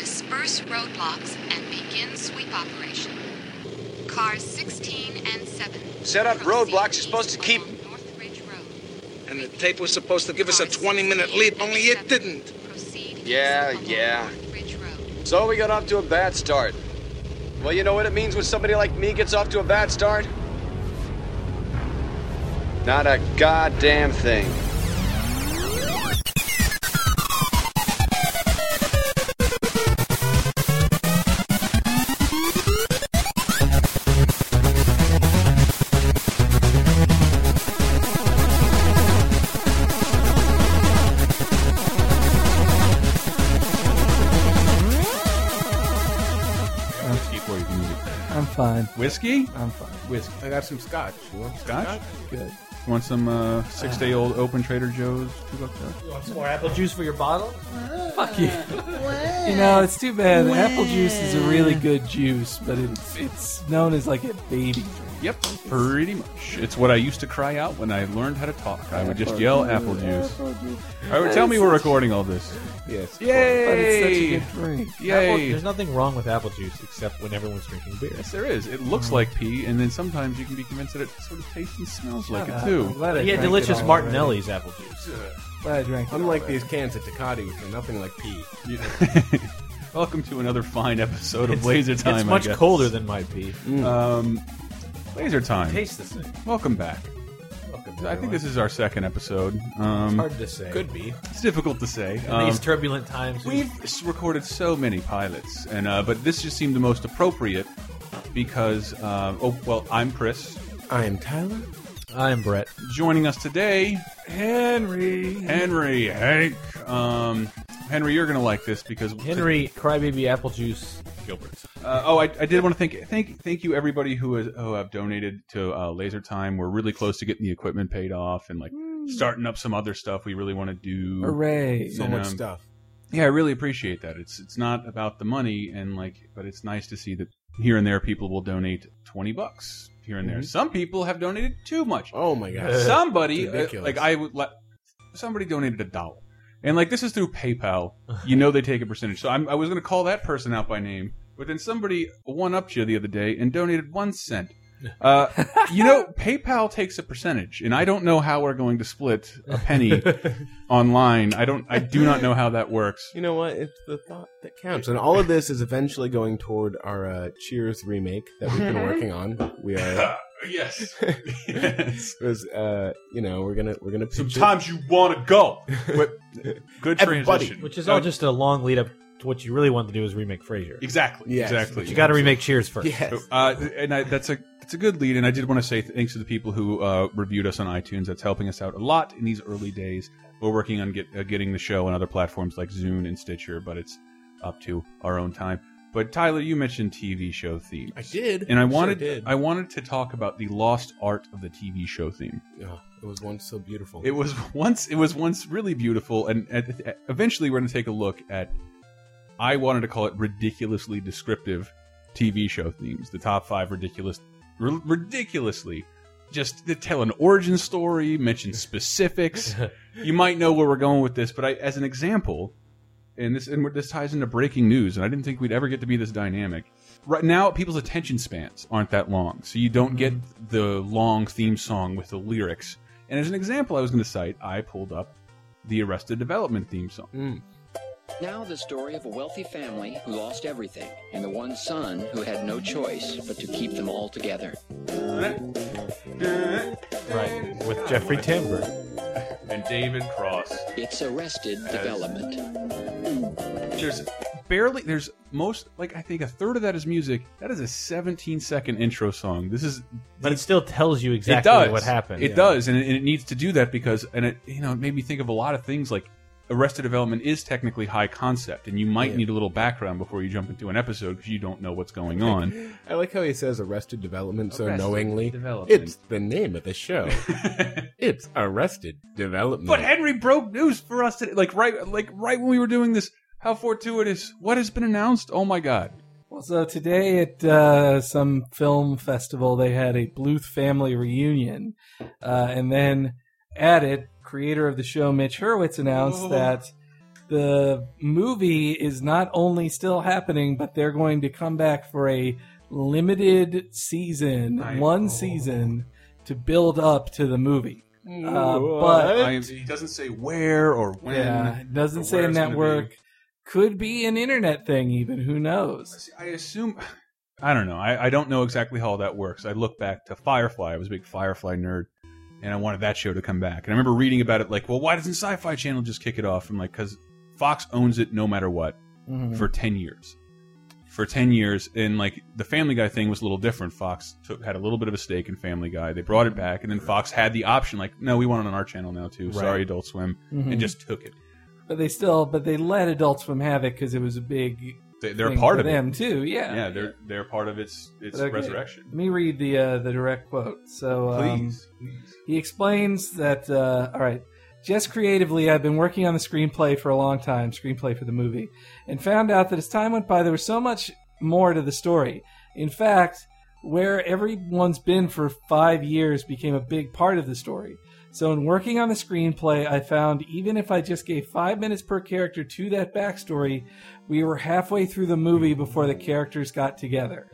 reverse roadblocks and begin sweep operation. Cars 16 and 7. Set up proceed roadblocks you're supposed to east keep- along North Ridge Road. And the tape was supposed to give us a Cars 20 minute 16 lead, and only it 7. didn't. Proceed east Yeah, along yeah. North Ridge Road. So we got off to a bad start. Well, you know what it means when somebody like me gets off to a bad start? Not a goddamn thing. Whiskey for you. Music. I'm fine. Whiskey? I'm fine. Whiskey. I got some scotch. You want some Scotch? Good. Want some uh, six day old open Trader Joe's? Two buck there. You want some more apple juice for your bottle? Fuck you. you know, it's too bad. Apple juice is a really good juice, but it's it's known as like a baby drink. Yep, pretty much. It's what I used to cry out when I learned how to talk. I would just yell apple juice. All right, tell me we're recording all this. Yes. But Yay! it's such a good drink. Apple, Yay! there's nothing wrong with apple juice except when everyone's drinking beer. Yes, there is. It looks like pee, and then sometimes you can be convinced that it sort of tastes and smells like it I'm too. glad I He had drank it delicious all Martinelli's apple juice. already. Glad I drank it Unlike already. these cans at Ducati, which are nothing like pee. Welcome to another fine episode of Laser Time. It's I much guess. colder than might be. Um, Laser Time. Taste the same. Welcome back. I think this is our second episode. Um, Hard to say. could be. it's difficult to say. In Um, these turbulent times, we- We've s- recorded so many pilots, and uh, but this just seemed the most appropriate because uh, oh well, I'm Chris. I am Tyler. I'm Brett. Joining us today, Henry. Henry Hank. Um, Henry, you're gonna like this because Henry, crybaby apple juice, Gilbert. Uh, oh, I, I did want to thank thank thank you everybody who has who have donated to uh, Laser Time. We're really close to getting the equipment paid off and like starting up some other stuff we really want to do. Hooray. So And, much um, stuff. Yeah, I really appreciate that. It's it's not about the money and like, but it's nice to see that here and there people will donate twenty bucks here and there. Some people have donated too much. Oh my god. Somebody uh, ridiculous. like I would let somebody donated a dollar, and like this is through PayPal. You know they take a percentage. So I'm, I was going to call that person out by name, but then somebody one upped you the other day and donated one cent. Uh, you know, PayPal takes a percentage, and I don't know how we're going to split a penny online. I don't. I do not know how that works. You know what? It's the thought that counts. And all of this is eventually going toward our uh, Cheers remake that we've been working on. We are. yes. It was, uh, you know, we're gonna we're gonna pitch it. Sometimes you want to go. But good Everybody. transition. Which is all Uh, just a long lead up to what you really want to do is remake Frasier. exactly. Yes. Exactly. You got to remake Cheers first. Yes. Uh, and I, that's a it's a good lead, and I did want to say thanks to the people who uh, reviewed us on iTunes. That's helping us out a lot in these early days. We're working on get, uh, getting the show on other platforms like Zune and Stitcher, but it's up to our own time. But Tyler, you mentioned TV show themes. I did. and I Sure wanted did. I wanted to talk about the lost art of the TV show theme. Oh, it was once so beautiful. It was once it was once really beautiful, and at, eventually we're going to take a look at. I wanted to call it ridiculously descriptive TV show themes. The top five ridiculous, ri- ridiculously, just to tell an origin story, mention specifics. you might know where we're going with this, but I, as an example, and this and this ties into breaking news, and I didn't think we'd ever get to be this dynamic. Right now, people's attention spans aren't that long, so you don't get the long theme song with the lyrics. And as an example, I was going to cite, I pulled up the Arrested Development theme song. Now, the story of a wealthy family who lost everything and the one son who had no choice but to keep them all together. Right. With Jeffrey Tambor. And David Cross. It's arrested development. There's barely, there's most, like, I think a third of that is music. That is a 17 second intro song. This is But it still tells you exactly it does. what happened. It does, and it, and it needs to do that because, and it you know, it made me think of a lot of things. Like Arrested Development is technically high concept, and you might Yeah. need a little background before you jump into an episode because you don't know what's going on. I like how he says Arrested Development so Arrested knowingly. Development. It's the name of the show. it's Arrested Development. but Henry broke news for us today, like right, like right when we were doing this. How fortuitous! What has been announced? Oh my God! Well, so today at uh, some film festival, they had a Bluth family reunion. Oh. Uh, and then at it, creator of the show, Mitch Hurwitz, announced Whoa. that the movie is not only still happening, but they're going to come back for a limited season, one season, to build up to the movie. Uh, but IMDb doesn't say where or when. yeah, it doesn't or say where in it's that gonna work. be. Could be an internet thing, even. Who knows? See, I assume. I don't know. I, I don't know exactly how all that works. I look back to Firefly. I was a big Firefly nerd, and I wanted that show to come back. And I remember reading about it, like, well, why doesn't Sci-Fi Channel just kick it off? I'm like, because Fox owns it no matter what Mhm. for ten years. For ten years, and like the Family Guy thing was a little different. Fox took had a little bit of a stake in Family Guy. They brought it back, and then Fox had the option, like, no, we want it on our channel now too. Sorry, Adult Swim, Mhm. and just took it. but they still, but they let Adult Swim have it because it was a big. They, they're thing part for of them it. too. Yeah. Yeah, they're they're part of its its Okay. resurrection. Let me read the uh, the direct quote. So um, Please, please. He explains that, uh, all right, just creatively, I've been working on the screenplay for a long time, screenplay for the movie, and found out that as time went by, there was so much more to the story. In fact, where everyone's been for five years became a big part of the story. So, in working on the screenplay, I found even if I just gave five minutes per character to that backstory, we were halfway through the movie before the characters got together.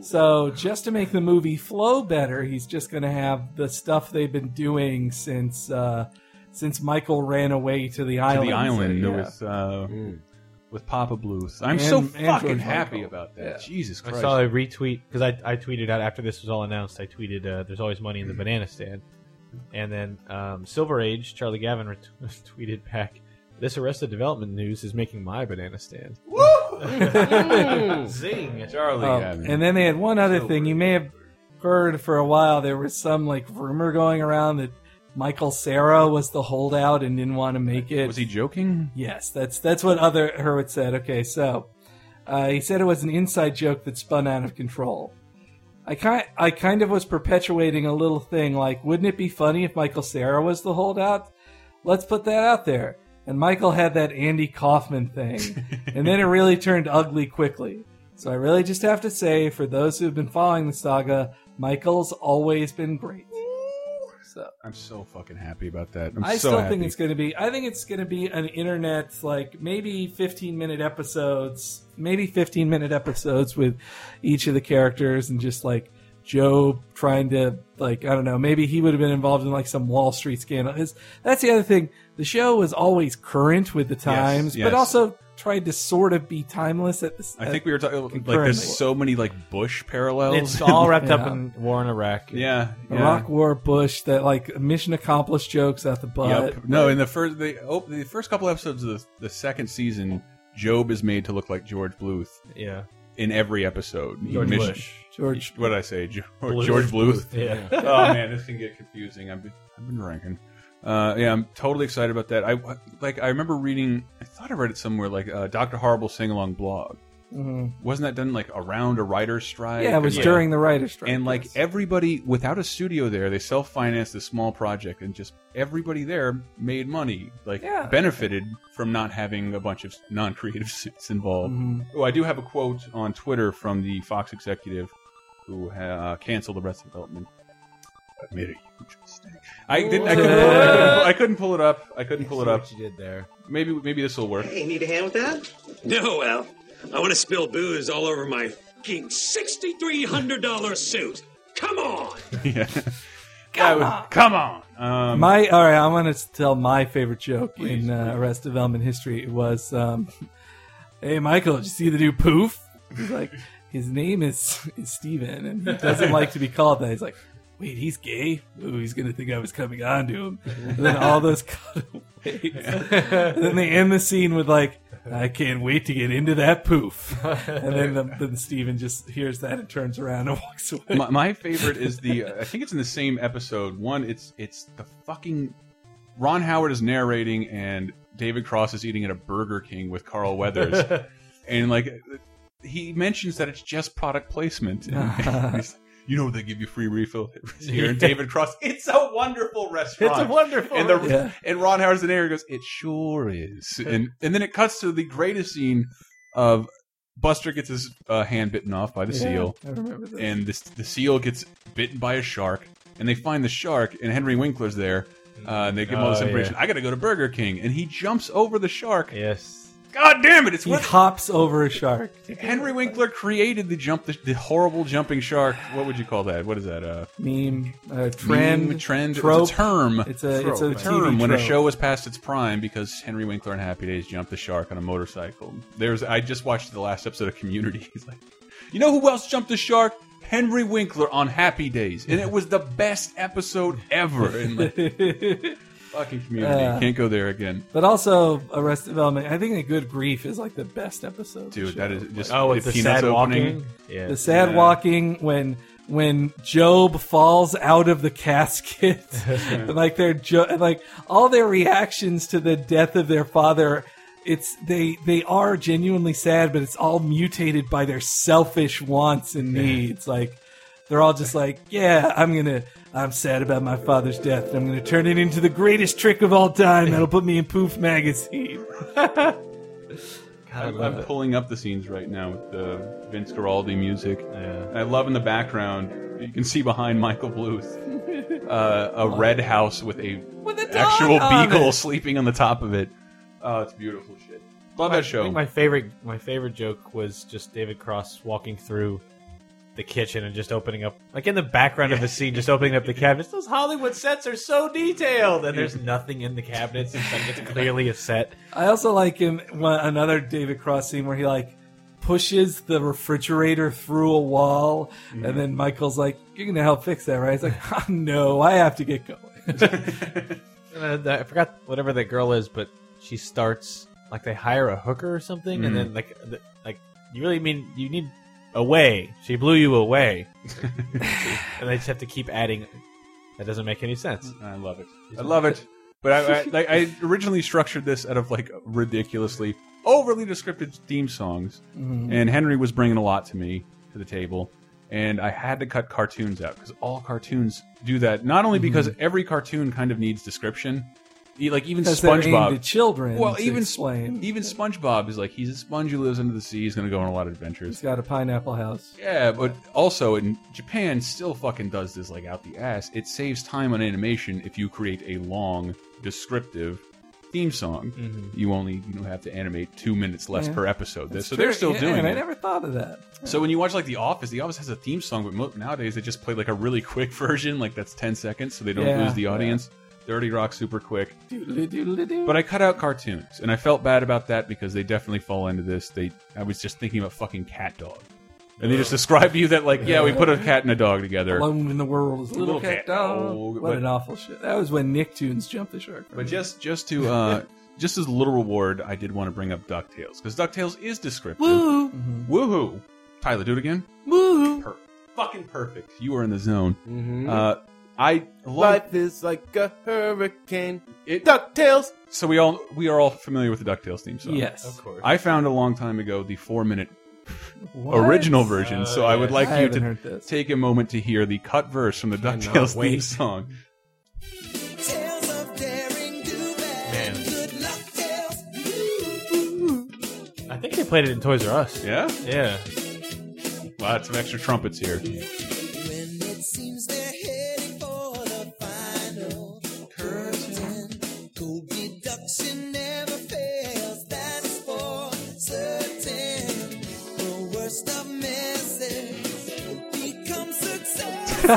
So just to make the movie flow better, he's just going to have the stuff they've been doing since uh, since Michael ran away to the to island. the island So, yeah. Hmm. with uh, Mm. with Papa Bluth. I'm so And- and fucking George happy Michael. about that. Yeah. Jesus I Christ! saw a retweet because I, I tweeted out after this was all announced. I tweeted, uh, "There's always money in the banana stand," and then um, Silver Age Charlie Gavin ret- tweeted back, "This Arrested Development news is making my banana stand." Woo! Zing, Charlie. Um, Gavin. and then they had one other thing. You may have heard for a while there was some like rumor going around that Michael Sarah was the holdout and didn't want to make it. was he joking? Yes, that's that's what other Hurwitz said. Okay, so uh, he said it was an inside joke that spun out of control. I kind I kind of was perpetuating a little thing like, wouldn't it be funny if Michael Sarah was the holdout? Let's put that out there. And Michael had that Andy Kaufman thing, and then it really turned ugly quickly. So I really just have to say, for those who have been following the saga, Michael's always been great. So. I'm so fucking happy about that. I'm I so still happy. think it's going to be. I think it's going to be an internet like maybe fifteen minute episodes, maybe fifteen minute episodes with each of the characters and just like Joe trying to like I don't know. Maybe he would have been involved in like some Wall Street scandal. Is that's the other thing. The show was always current with the times, yes. but also tried to sort of be timeless at this. I think we were talking like Concurrently. there's so many like Bush parallels. It's all wrapped up Yeah. in war in Iraq. Uh, yeah, the yeah. Iraq War Bush that like mission accomplished jokes out the butt. Yep. No, in the first the oh, the first couple episodes of the, the second season, Job is made to look like George Bluth yeah. in every episode. George Mission- Bush. George What did I say? George Bluth. George Bluth. Yeah. oh man, this can get confusing. I've been, I've been drinking. Uh, yeah, I'm totally excited about that. I like. I remember reading. I thought I read it somewhere, like uh, Doctor Horrible sing along blog. Mhm. Wasn't that done like around a writer's strike? Yeah, it was during the writer's strike. And like yes. everybody, without a studio there, they self financed a small project, and just everybody there made money, like Yeah. benefited from not having a bunch of non creative suits involved. Mhm. Oh, I do have a quote on Twitter from the Fox executive who uh, canceled the rest of development. I made a huge mistake. I didn't. I couldn't, pull it, up. I couldn't pull it up. I couldn't pull it up. What you did there. Maybe maybe this will work. Hey, need a hand with that? No, Al. I want to spill booze all over my fucking $6,300 suit. Come on! yeah. Come on. Come on. Um, My all right, I want to tell my favorite joke in uh, Arrest Development history. It was, um, "Hey Michael, did you see the new poof?" He's like, his name is is Steven, and he doesn't like to be called that. He's like, "Wait, he's gay? Ooh, he's gonna think I was coming on to him." And then all those cutaways. And then they end the scene with like, "I can't wait to get into that poof," and then the, then Steven just hears that and turns around and walks away. my, my favorite is the uh, I think it's in the same episode. One, it's it's the fucking Ron Howard is narrating and David Cross is eating at a Burger King with Carl Weathers, and like he mentions that it's just product placement. And he's like, you know they give you free refill here. And David Cross, it's a wonderful restaurant. It's a wonderful. And the Yeah. and Ron Howard's in there and goes, "It sure is." And and then it cuts to the greatest scene of Buster gets his uh, hand bitten off by the seal, I remember that. and this the seal gets bitten by a shark, and they find the shark, and Henry Winkler's there, Uh, and they give him all this Oh, yeah. information. I got to go to Burger King, and he jumps over the shark. Yes. God damn it! It's He what hops over a shark. Henry Winkler created the jump, the, the horrible jumping shark. What would you call that? What is that? Uh, Meme, uh, trend, meme, trend, trope. It's a term. It's a it's a a TV term when a trope. show was past its prime because Henry Winkler and Happy Days jumped the shark on a motorcycle. There's I just watched the last episode of Community. He's like, you know who else jumped the shark? Henry Winkler on Happy Days, and it was the best episode ever. And like, fucking Community, Uh. can't go there again, But also Arrested Development. I think A Good Grief is like the best episode. of the dude. show. That is just Oh, with the Peanuts sad opening. walking. Yeah. the sad walking when when Job falls out of the casket, and like their jo- and like all their reactions to the death of their father. It's they they are genuinely sad, but it's all mutated by their selfish wants and needs. Like they're all just like, yeah, I'm gonna. I'm sad about my father's death. And I'm going to turn it into the greatest trick of all time. That'll put me in Poof magazine. I'm, I'm pulling up the scenes right now with the Vince Guaraldi music. Yeah. And I love in the background, you can see behind Michael Bluth, uh, a red house with a With a dog actual on beagle it. sleeping on the top of it. Oh, it's beautiful shit. Love I that show. think my favorite my favorite joke was just David Cross walking through the kitchen and just opening up like in the background of the scene, just opening up the cabinets. Those Hollywood sets are so detailed, and there's nothing in the cabinets. It's like it's clearly a set. I also like him one, another David Cross scene where he like pushes the refrigerator through a wall, and then Michael's like, "You're gonna help fix that, right?" It's like, "Ah, "No, I have to get going." Uh, the- I forgot whatever that girl is, but she starts like they hire a hooker or something, and then like the, like you really mean you need away. She blew you away, and they just have to keep adding. That doesn't make any sense. I love it. I love it. But I, I, like, I originally structured this out of like ridiculously overly descriptive theme songs, and Henry was bringing a lot to me to the table, and I had to cut cartoons out because all cartoons do that. Not Mm-hmm. only because every cartoon kind of needs description, E- like even Because they're aimed SpongeBob. at children. Well, to even explain. even SpongeBob is like he's a sponge who lives under the sea. He's going to go on a lot of adventures. He's got a pineapple house. Yeah, but also in Japan still fucking does this like out the ass. It saves time on animation if you create a long descriptive theme song. You only you know, have to animate 2 minutes less Mm-hmm. Yeah. per episode. so Sure, they're still yeah, doing and I it. never thought of that. So when you watch like The Office, The Office has a theme song, but mo nowadays they just play like a really quick version, like that's 10 seconds so they don't Yeah, lose the yeah. audience. Dirty Rock super quick. Doodly-doodly-doo. But I cut out cartoons, and I felt bad about that because they definitely fall into this. They, I was just thinking about fucking cat dog, and they just describe to you that like, yeah, we put a cat and a dog together. Alone in the world is a little, Little cat cat dog. dog, What but- an awful shit. That was when Nicktoons jumped the shark. for But me. just just to uh, just as a little reward, I did want to bring up Ducktales because Ducktales is descriptive. woo, Woohoo! Tyler, do it again. woo. Per fucking perfect. You are in the zone. Mm-hmm. Mhm. Uh, I love Life is like a hurricane. it. Ducktales. So we all we are all familiar with the Ducktales theme song. Yes, I found a long time ago the four minute What? Uh, original version, so I would like I you haven't to heard this. take a moment to hear the cut verse from the Cannot DuckTales theme wait. song. Man. I think they played it in Toys R Us. Yeah? Yeah. Lots of extra trumpets here.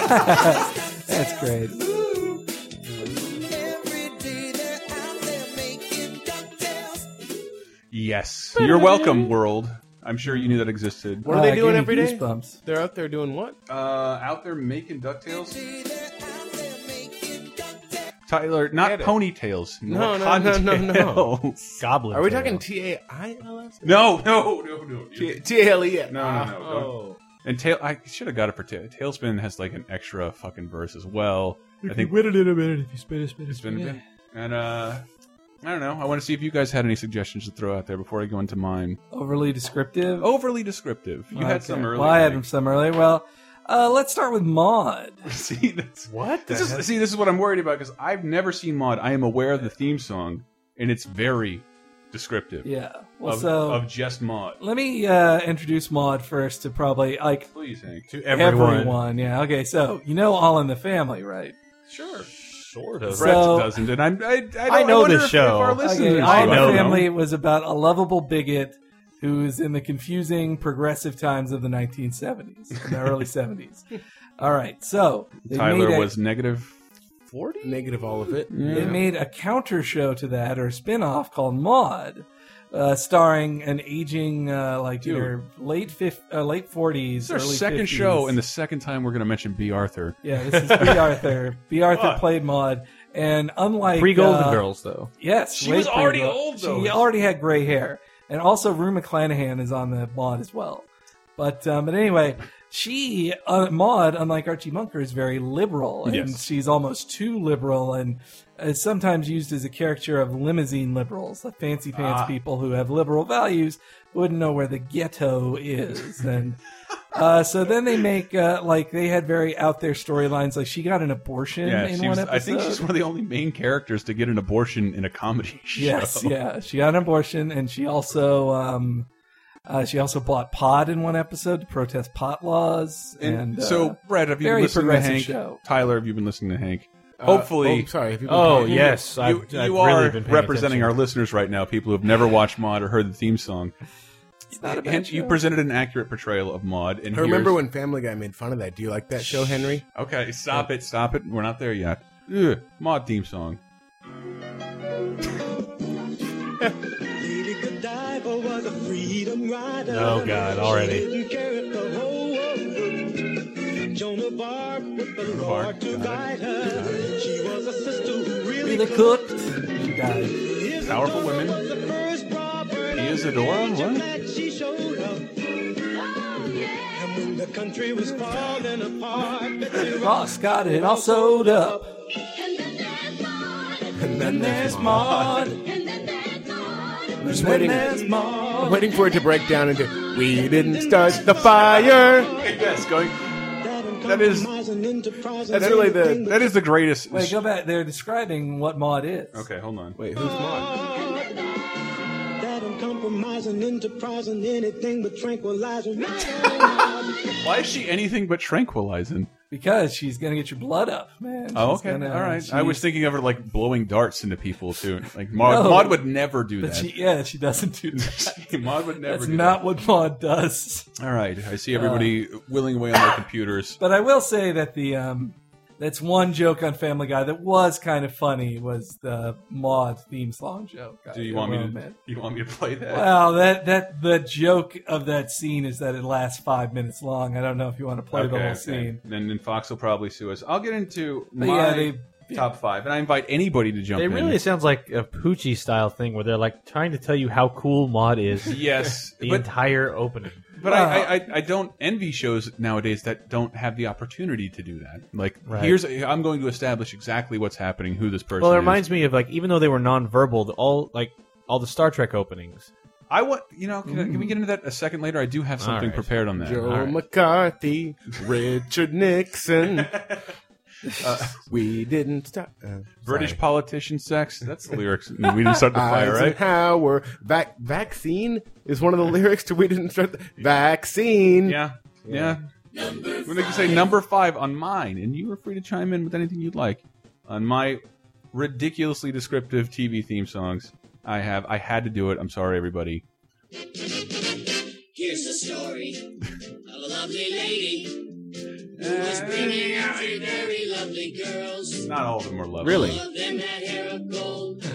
That's great. Yes. You're welcome, world. I'm sure you knew that existed. What are they Ah, doing give me every day? Goosebumps. They're out there doing what? Uh, out there making DuckTales? Tyler, not Get it. ponytails. No, no, no, no, no. cottontails. Goblin. Are we Tail. talking T A I L S? No, no, no, no. T T A L E S. No, no, no. don't. And tail, I should have got it for tail. Tailspin has like an extra fucking verse as well. I think wait a little minute if you spit it, spit it, It's been a bit. And uh I don't know. I want to see if you guys had any suggestions to throw out there before I go into mine. Overly descriptive. Overly descriptive. Oh, You had Okay. some earlier. Well, I had Nick. some earlier. Well, uh, let's start with Maud. see that's What? this is see this is what I'm worried about because I've never seen Maud. I am aware of the theme song, and it's very descriptive Yeah. Well, of, so of just Maud. let me uh, introduce Maud first to probably like Please, Hank. to everyone. everyone. Yeah. Okay. So you know All in the Family, right? Sure. Sort of. Right. So- doesn't, and I'm, I, I, don't, I know wonder this if- if our show. listeners Okay, do. I know know them. Family was about a lovable bigot who's in the confusing progressive times of the 1970s, and the early 70s. All right, so they made Tyler a, was negative. Negative all of it. they made a counter show to that or a spin-off called Maud. Uh, starring an aging, uh, like Dude. either late fif- uh, late forties, It's our early second 50s. show, and the second time we're going to mention B. Arthur. yeah, this is B. Arthur. B. Arthur played Maud, and unlike Pre Golden uh, Girls, though. Yes, She way was pretty already well. old, though. She already had gray hair, and also Rue McClanahan is on the mod as well. But um, but anyway, she uh, Maud, unlike Archie Bunker, is very liberal, and Yes. she's almost too liberal, and is sometimes used as a caricature of limousine liberals, the fancy pants Ah. people who have liberal values wouldn't know where the ghetto is, and. Uh, so then they make uh, like they had very out there storylines. Like she got an abortion Yeah, in she one was, episode. I think she's one of the only main characters to get an abortion in a comedy show. Yes, yeah. She had an abortion, and she also um, uh, she also bought pot in one episode to protest pot laws. And, And, so, uh, Brett, have you been very listening to progressive Hank? show. Tyler, have you been listening to Hank? Uh, Hopefully, oh, sorry. Have you been Oh, talking? yes. I've, you, I've you really are been paying representing our attention. listeners right now, people who have never watched Maud or heard the theme song. it's not a bad And you show. presented an accurate portrayal of Maud. And I remember here's- when Family Guy made fun of that. Do you like that show, Henry? Okay, stop it, stop it. We're not there yet. Ugh, Maud theme song. Lady Godiva was a freedom rider. Oh, God, already. She didn't care if the whole world looked. Joan of Arc with the Arc, Lord to got it. guide her. She was a sister who really Really could. cooked. She died. Powerful women. Was the first Robert Isadora? and the What? that she showed up. And when the country was falling apart, Betsy Raw, got it all sewed up. And And then there's there's Maud. I'm just And waiting. there's I'm Maud. waiting for it to break down into "We didn't start the fire." Yes, going. That is- That's really the. That is the greatest. Wait, go back. They're describing what Maud is. Okay, hold on. Wait, who's Maud? That uncompromising enterprise and anything but tranquilizing. Why is she anything but tranquilizing? Because she's gonna get your blood up, man. Oh, She's okay, gonna- all right. I she's- was thinking of her like blowing darts into people too. Like Maud, No. Maud would never do But that. she, yeah, she doesn't do that. Maud would never. That's do not Uh, what Maud does. That. All right, I see everybody willing away on their computers. But I will say that the um, that's one joke on Family Guy that was kind of funny was the Maud theme song joke. Do I you want me will to? admit. You want me to play that? Well, that that the joke of that scene is that it lasts five minutes long. I don't know if you want to play the whole scene. And then Fox will probably sue us. I'll get into But my yeah, they top five, and I invite anybody to jump It in. really sounds like a Poochie style thing where they're like trying to tell you how cool Maud is yes, the but entire opening. but I, I- I I don't envy shows nowadays that don't have the opportunity to do that. Like Right. here's I'm going to establish exactly what's happening, who this person. Well, it is. reminds me of like even though they were nonverbal, the- all like all the Star Trek openings. I want you know. Can, Mm-hmm. can we get into that a second later? I do have something right. prepared on that. Joe All right. McCarthy, Richard Nixon. Uh, we didn't start. Uh, British sorry. politician sex. That's the lyrics. in we didn't start Ah, the fire, right? Eisenhower. Vac- vaccine is one of the lyrics to "We didn't start." The- vaccine. Yeah, yeah. When they can say number five on mine, and you are free to chime in with anything you'd like on my ridiculously descriptive TV theme songs. I have. I had to do it. I'm sorry, everybody. Here's the story of a lovely lady who was bringing out three very lovely girls. Not all of them were lovely. Really? All of them had hair of gold.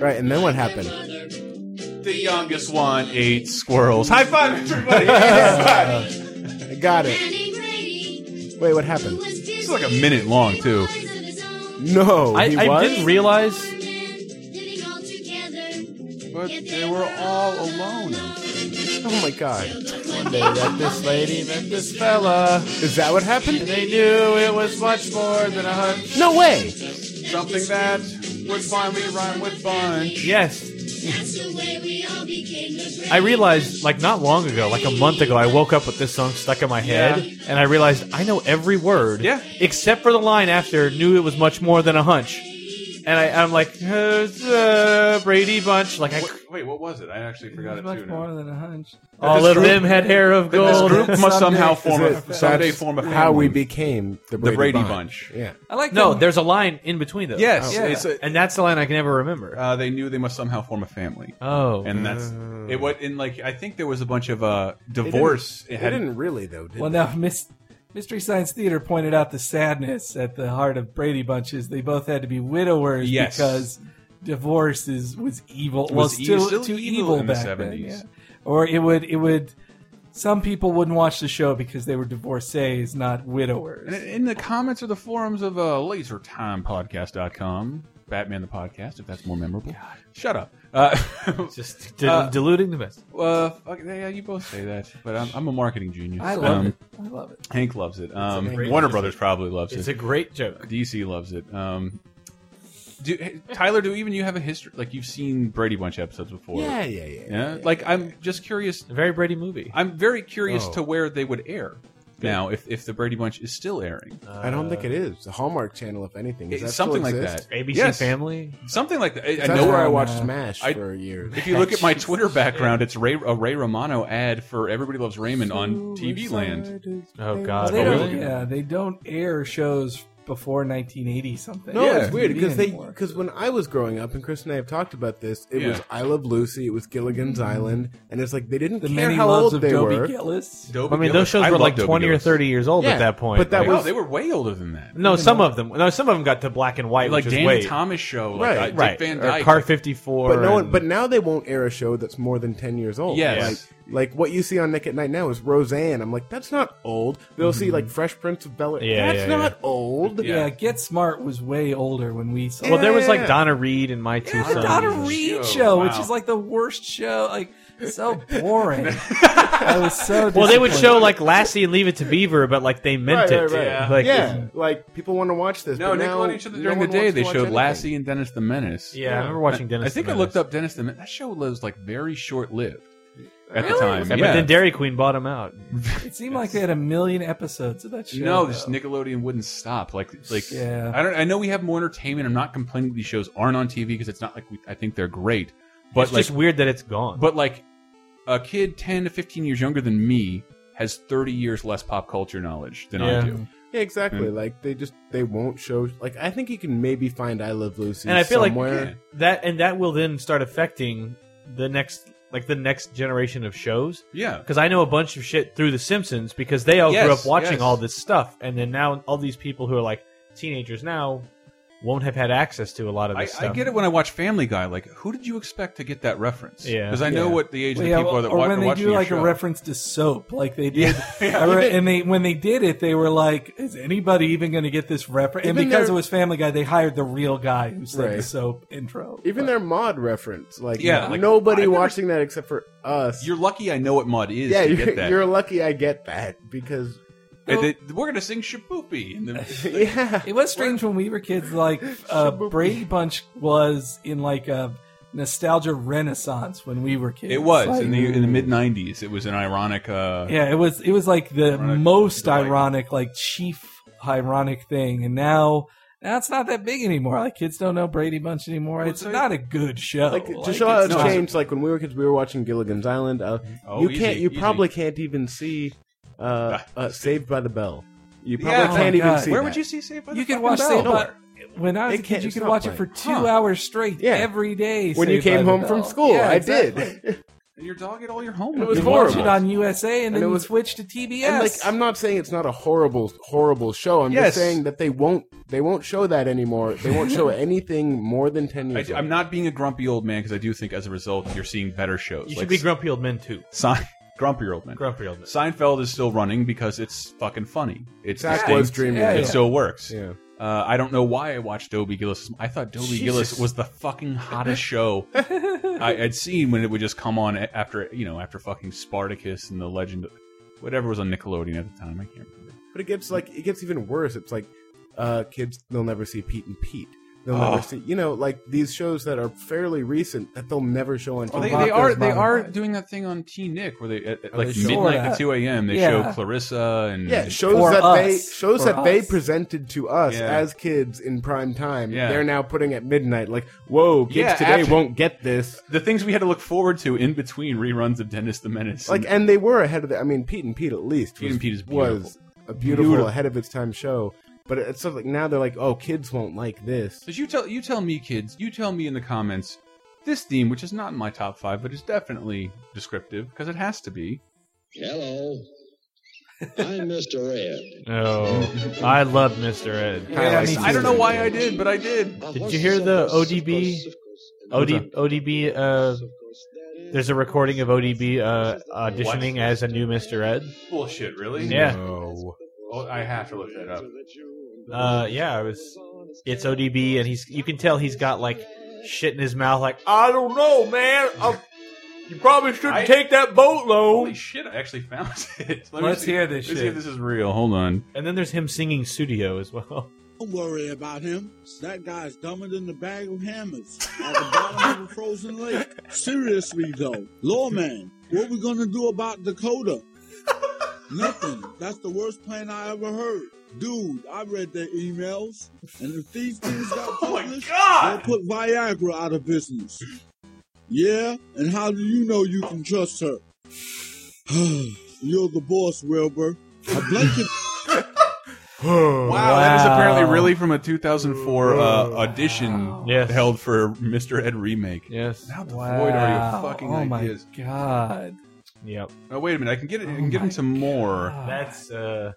Right. And then what happened? Mother, The youngest one ate squirrels. High five, everybody! High five. I got it. Annie Brady, Wait, what who happened? was busy. It's like a minute long too. with boys of his own. No, I, he I was. didn't realize. Four men living all together. But Yet they were all alone. Oh my god! They met this lady, met this fella. Is that what happened? They knew it was much more than a hunch. No way! Something that would finally rhyme with bunch. Yes, That's the way we all became the brave. I realized, like, not long ago, like a month ago, I woke up with this song stuck in my head, and I realized I know every word. Yeah. Except for the line after, knew it was much more than a hunch. and I, I'm like, "Who's, uh, Brady Bunch. Like, I, wait, what was it? I actually forgot it much too. more than a hunch. all of them had hair of That this gold. group must Someday- somehow form Is a it- someday that's form a how we family. became the The Brady, Brady Bunch. Bunch. Yeah, I like no, them. there's a line in between those. Yes, Yeah. it's a, and that's the line I can never remember. uh, they knew they must somehow form a family. oh, and that's it. What in like I think there was a bunch of uh divorce. They didn't really though. Did Well, they? now Miss, Mystery Science Theater pointed out the sadness at the heart of Brady Bunches. They both had to be widowers Yes. because divorce is was evil. well, Was e- still, still too evil evil, in the back then. 70s. yeah. Or it would it would. Some people wouldn't watch the show because they were divorcees, not widowers. And in the comments or the forums of uh, lasertimepodcast.com, Batman the podcast, if that's more memorable. Shut up. Uh, just dil- Uh, diluting the message. uh, fuck, yeah, you both say that, but I'm, I'm a marketing genius. I love Um, it. I love it. Hank loves it. Um, great- Warner it's a- Brothers probably loves It's it. a great joke. DC loves it. Um, do, hey, Tyler, do even you have a history? Like you've seen Brady Bunch episodes before? yeah, yeah, yeah. Yeah? Like I'm just curious. A very Brady movie. I'm very curious Oh. to where they would air now if, if the Brady Bunch is still airing. I don't think it is the Hallmark Channel. If anything, Does It's that something still like exist? that. ABC Yes. Family. Something like that. I, I That's know where I Um, watched uh, Smash I- for a year. If you look at my Twitter background, it's Ray, a Ray Romano ad for Everybody Loves Raymond on TV Land. Oh, God. they don't, really? yeah, they don't air shows before 1980 something. No, Yeah. it's weird because they Anymore. because when I was growing up, and Chris and I have talked about this, it was Yeah. I Love Lucy, it was Gilligan's Mm. Island, and it's like they didn't the care many how loves old of they Dobie were. Gillis. Dobie I mean, Gillis. those shows I were love like Dobie 20 or Gillis. 30 years old Yeah, at that point. but that Like, Wow, was- they were way older than that. no, some of them. No, some of them got to black and white, like which Dan is way Thomas show, like Right, uh, Dick right. Van or Dyke. Car 54. But no one. and- But now they won't air a show that's more than ten years old. Yes. Like, like what you see on Nick at Night now is Roseanne. I'm like, that's not old. They'll see like Fresh Prince of Bel Air. Mm-hmm. Yeah, that's yeah, not old. Yeah. Get Smart was way older when we saw. well, there was like Yeah. Donna Reed and My Two the Sons. Donna Sons. Reed Show, show, which wow. is like the worst show. Like so boring. I was so. Well, they would show disappointed. like Lassie and Leave It to Beaver, but like they meant Right, right, it. right. Yeah. Like, yeah, like people want to watch this. no, but now Nickelodeon showed it no during one the day. wants to They watch showed anything. Lassie and Dennis the Menace. Yeah, I remember watching Dennis. I think I looked up Dennis the Menace. That show was like very short lived at the Really? time. Yeah, but then Dairy Queen bought him out. It seemed like they had a million episodes of that show. no, this though. Nickelodeon wouldn't stop. Like, like Yeah. I don't. I know we have more entertainment. I'm not complaining that these shows aren't on TV because it's not like we, I think they're great. But it's like, just weird that it's gone. but like, a kid 10 to 15 years younger than me has 30 years less pop culture knowledge than I Yeah. do. Yeah, exactly. Like they just they won't show. Like I think you can maybe find I Love Lucy and I feel somewhere. like that, and that will then start affecting the next, like the next generation of shows. Yeah. Because I know a bunch of shit through The Simpsons because they all grew Yes, up watching yes. all this stuff, and then now all these people who are like teenagers now won't have had access to a lot of I, this I stuff. get it when I watch Family Guy. Like, who did you expect to get that reference? Yeah. because I know Yeah. what the age Well, of yeah, the people are that or wa- when are they watching do your like show. a reference to soap, like they did, Yeah. I re- and they when they did it, they were like, "Is anybody even going to get this reference?" And Even because their- it was Family Guy, they hired the real guy who said the Right. soap intro. Even But- their mod reference, like Yeah, like, nobody I've never- watching that except for us. You're lucky I know what mud is yeah, to you're, get that. you're lucky. I get that because And they- we're gonna sing Shaboopy. And then, yeah, It was strange when we were kids. Like uh, Brady Bunch was in like a nostalgia renaissance when we were kids. it was Like, in the in the mid '90s. It was an ironic. Uh, yeah, it was. It was like the Ironic most delight. ironic, like chief ironic thing. And now, now it's not that big anymore. Like kids don't know Brady Bunch anymore. it's so- not a good show. like to Like, show how it's it's not- changed. Like when we were kids, we were watching Gilligan's Island. Uh, Oh, you easy, can't. You easy. Ah, probably can't even see uh, uh, Saved by the Bell. You probably Yeah. Oh my can't even God. see. Where that. would you see Saved by the you could Fucking watch Bell? Saved by, Nowhere. when I was a It can't- kid, you it's could not watch it playing. for two Huh. hours straight Yeah. every day. when you Saved by came the home from Bell. school? Yeah, I exactly. did. And your dog ate all your homework. It was you watch horrible. it on USA, and then it you was- switch to TBS. And like, I'm not saying it's not a horrible, horrible show. I'm Yes. just saying that they won't, they won't show that anymore. They won't show anything more than ten I, years. old. am not being a grumpy old man because I do think as a result you're seeing better shows. You Like, should be grumpy old men too. Sein- grumpier old man. Grumpy old men. Seinfeld is still running because it's fucking funny. It's Zach distinct. was dreaming. Yeah, it yeah. still works. Yeah. Uh, I don't know why I watched Dobie Gillis. I thought Dobie Gillis was the fucking hottest show I had seen when it would just come on a- after you know after fucking Spartacus and the Legend, of, whatever was on Nickelodeon at the time. I can't remember. But it gets like it gets even worse. It's like uh, kids they'll never see Pete and Pete. they'll never Oh. see. You know, like these shows that are fairly recent that they'll never show on. Oh, TV. they, they are they are doing that thing on T Nick where they at, at, Oh, like they show midnight that. to two a.m. They Yeah. show Clarissa and Yeah, shows that they shows that they presented to us Yeah. as kids in prime time. Yeah. They're now putting at midnight. Like, whoa, kids Yeah, today after- won't get this. The things we had to look forward to in between reruns of Dennis the Menace. Like, and they were ahead of the. I mean, Pete and Pete at least Pete was, and Pete is was a beautiful, Beautiful. ahead of its time show. But it's sort of like now they're like, oh, kids won't like this. Because you tell you tell me, kids, you tell me in the comments this theme, which is not in my top five, but is definitely descriptive because it has to be. Hello. I'm Mr. Ed. Oh, I love Mr. Ed. I don't know why I did, but I did. Did you hear the ODB? OD, ODB. Uh, there's a recording of ODB uh, auditioning as a new Mr. Ed. Bullshit, really? Yeah. No. Oh, I have to look that up. Uh, yeah, it was. It's ODB, and he's. You can tell he's got like shit in his mouth. Like I don't know, man. i you probably shouldn't I- take that boat Holy loan. shit! I actually found it. Let me Let's see- hear this Let's see shit. if this is real. Hold on. And then there's him singing studio as well. Don't worry about him. That guy's dumber than the bag of hammers at the bottom of a frozen lake. Seriously, though, lawman, what we gonna do about Dakota? Nothing. That's the worst plan I ever heard. Dude, I read their emails, and if these things got published, they'll put Viagra out of business. Yeah, and how do you know you can trust her? You're the boss, Wilbur. A blanket Wow, that is Wow. apparently really from a 2004 uh, audition Yes. held for Mr. Ed remake. Yes. How devoid are Wow. your fucking oh ideas? my god. Yep. Oh, wait a minute. I can get it. I can Oh get my into more. God. That's uh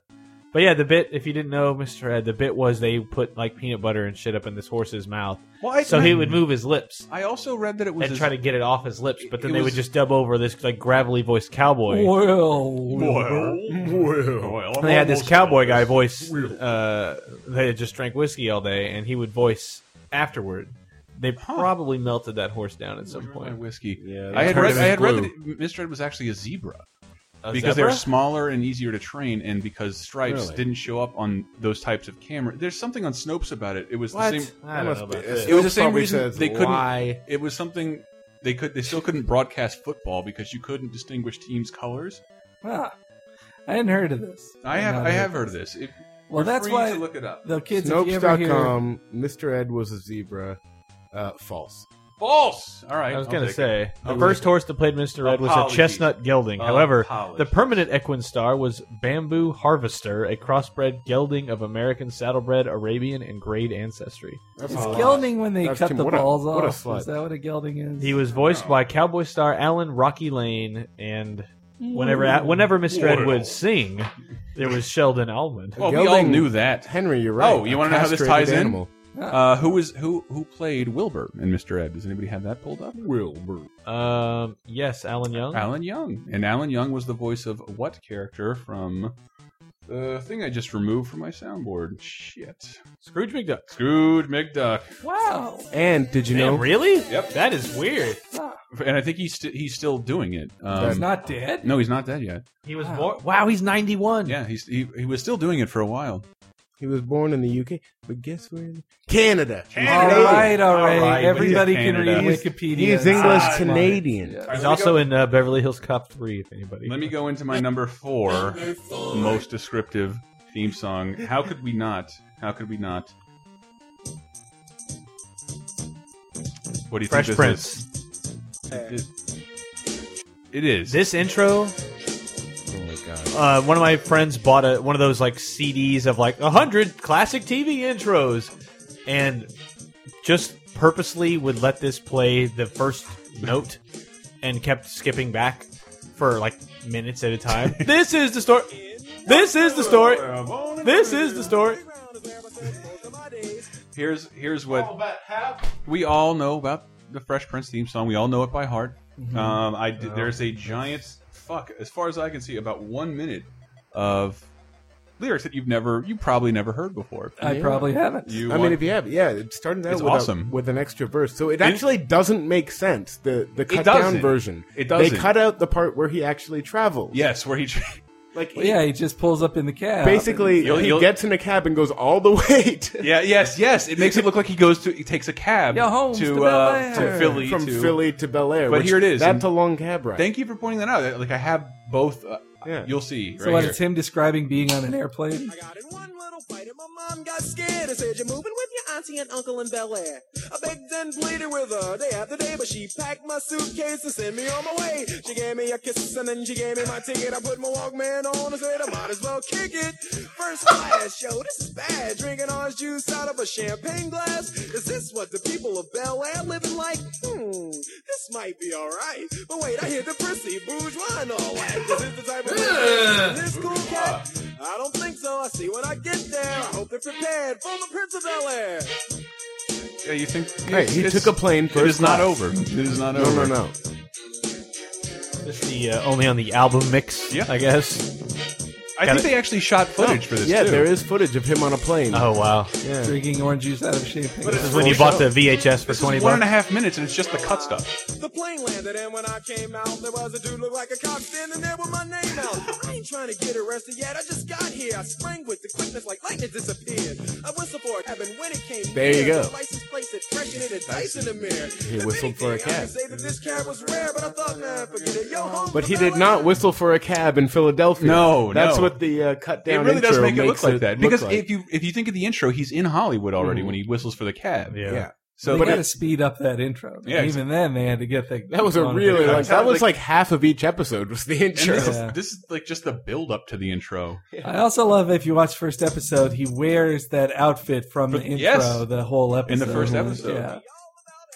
but yeah, the bit if you didn't know Mr. Ed, the bit was they put like peanut butter and shit up in this horse's mouth. Well, I, So he would move his lips I also read that it was and his- try to get it off his lips, but then It they would was- just dub over this like gravelly voiced cowboy. Well, Well, well, oh, I'm And they had this almost cowboy done. guy voice uh they had just drank whiskey all day and he would voice afterward. They probably melted that horse down at some Where's my point. whiskey. Yeah, I had turned read. him I had read blue. that it- Mr. Ed was actually a zebra A because they were zebra? smaller and easier to train, and because stripes Really? didn't show up on those types of camera. There's something on Snopes about it. It was What? the same. I don't know about this. It was the same Probably reason says they couldn't- why. It was something they could. They still couldn't broadcast football because you couldn't distinguish teams' colors. Huh. I hadn't heard of this. I have. Not I have heard of this. It, Well, you're that's free why to look it up. the kids. if you ever hear, Snopes.com. Mr. Ed was a zebra. Uh, false. False. All right. I was I'll gonna take it. say the I'll first take it. horse that played Mr. Red was a Apologies. chestnut gelding. However, Apologies. the permanent equine star was Bamboo Harvester, a crossbred gelding of American saddlebred, Arabian, and grade ancestry. is gelding when they That's cut Tim- the what a- balls what a off. slut. Is that what a gelding is? He was voiced by cowboy star Alan Rocky Lane, and whenever whenever Mr. Ed would sing, there was Sheldon Allman. Well, we all Gelding- knew that. Henry, you're right. Oh, you A wanna know how this castrated ties in? animal. Uh, who was who? Who played Wilbur in Mr. Ed? Does anybody have that pulled up? Wilbur. Um, yes, Alan Young. Alan Young, and Alan Young was the voice of what character from the thing I just removed from my soundboard? Shit. Scrooge McDuck. Scrooge McDuck, wow. And did you know? Man, really? Yep. That is weird. and I think he's st he's still doing it. Um, He's not dead. no, he's not dead yet. He was Wow. born. Wow, he's ninety-one. Yeah, he's he, he was still doing it for a while. He was born in the UK, but guess where? in- Canada. All right, all right. All right, Everybody but can read Canada. He's- Wikipedia. He is and English Ah, stuff. Canadian. He's also in uh, Beverly Hills Cop 3, if anybody. Let me go into my number four most descriptive theme song. How could we not? How could we not? What do you Fresh think Prince. this is? It is. This intro. Uh, one of my friends bought a one of those like CDs of like a hundred classic TV intros, and just purposely would let this play the first note, and kept skipping back for like minutes at a time. this is the story. This is the story. This is the story. Here's here's what we all know about the Fresh Prince theme song. We all know it by heart. Mm-hmm. Um, I did, there's a giant fuck as far as I can see about one minute of lyrics that you've never you probably never heard before. I probably haven't. You I want- mean, if you have, yeah, it started out It's with, a- awesome. with an extra verse, so it actually doesn't make sense. The the cut down doesn't. version, It They doesn't. cut out the part where he actually travels. yes, where he. Like, Well, yeah, he just pulls up in the cab. Basically, You'll- he you'll- gets in a cab and goes all the way. To yeah, yes, yes. It makes it look like he goes to he takes a cab Yeah, Holmes, to, to Bel uh, Air. to Philly From to- Philly to Bel Air, But which- here it is. that's And a long cab ride. Thank you for pointing that out. Like I have both. Uh, You'll see. So right what, here. it's him describing being on an airplane? Mom got scared and said, You're moving with your auntie and uncle in Bel Air. I begged and pleaded with her day after day, but she packed my suitcase and sent me on my way. She gave me a kiss and then she gave me my ticket. I put my Walkman on and said, I might as well kick it. First class, yo, this is bad. Drinking orange juice out of a champagne glass. Is this what the people of Bel Air living like? Hmm, this might be alright. But wait, I hear the prissy bourgeois and all that. Is this the type of this cool cat? I don't think so. I see when I get there. I hope they're prepared for the Prince of Bel Air. Yeah, you think? Hey, he took a plane It first is not class. over. It is not No, over. no, no. This the uh, only on the album mix. Yeah, I guess. I think they actually shot footage for this. Oh, Yeah, too. Uh-huh. there is footage of him on a plane. Oh wow! Drinking orange juice out of champagne. This is when you bought the VHS for twenty one and a bucks. half minutes, and it's just the cut stuff. The plane landed, and when I came out, there was a dude looked like a cop standing there with my name out. I ain't trying to get arrested yet. I just got here. I sprang with the quickness like lightning disappeared. I whistled for a cab, and when it came There you near, go. the license plate said fresh, and it had dice in the mirror. He whistled for a I cab. could say that this cab was rare, but I thought, man, forget it. Yo, home But he did not whistle for a cab in Philadelphia. No, that's no. what the uh, cut It down. really does intro make it look makes like that look because like. if you if you think of the intro, he's in Hollywood already Mhm. when he whistles for the cab. Yeah. Yeah. So So, they but got to it, speed up that intro. Yeah, And even then they had to get that. that was a on really video. like that was like half of each episode was the and intro. this, is, this is like just the build up to the intro. I also love if you watch first episode, he wears that outfit from the intro, yes. the whole episode. In the first episode. Yeah.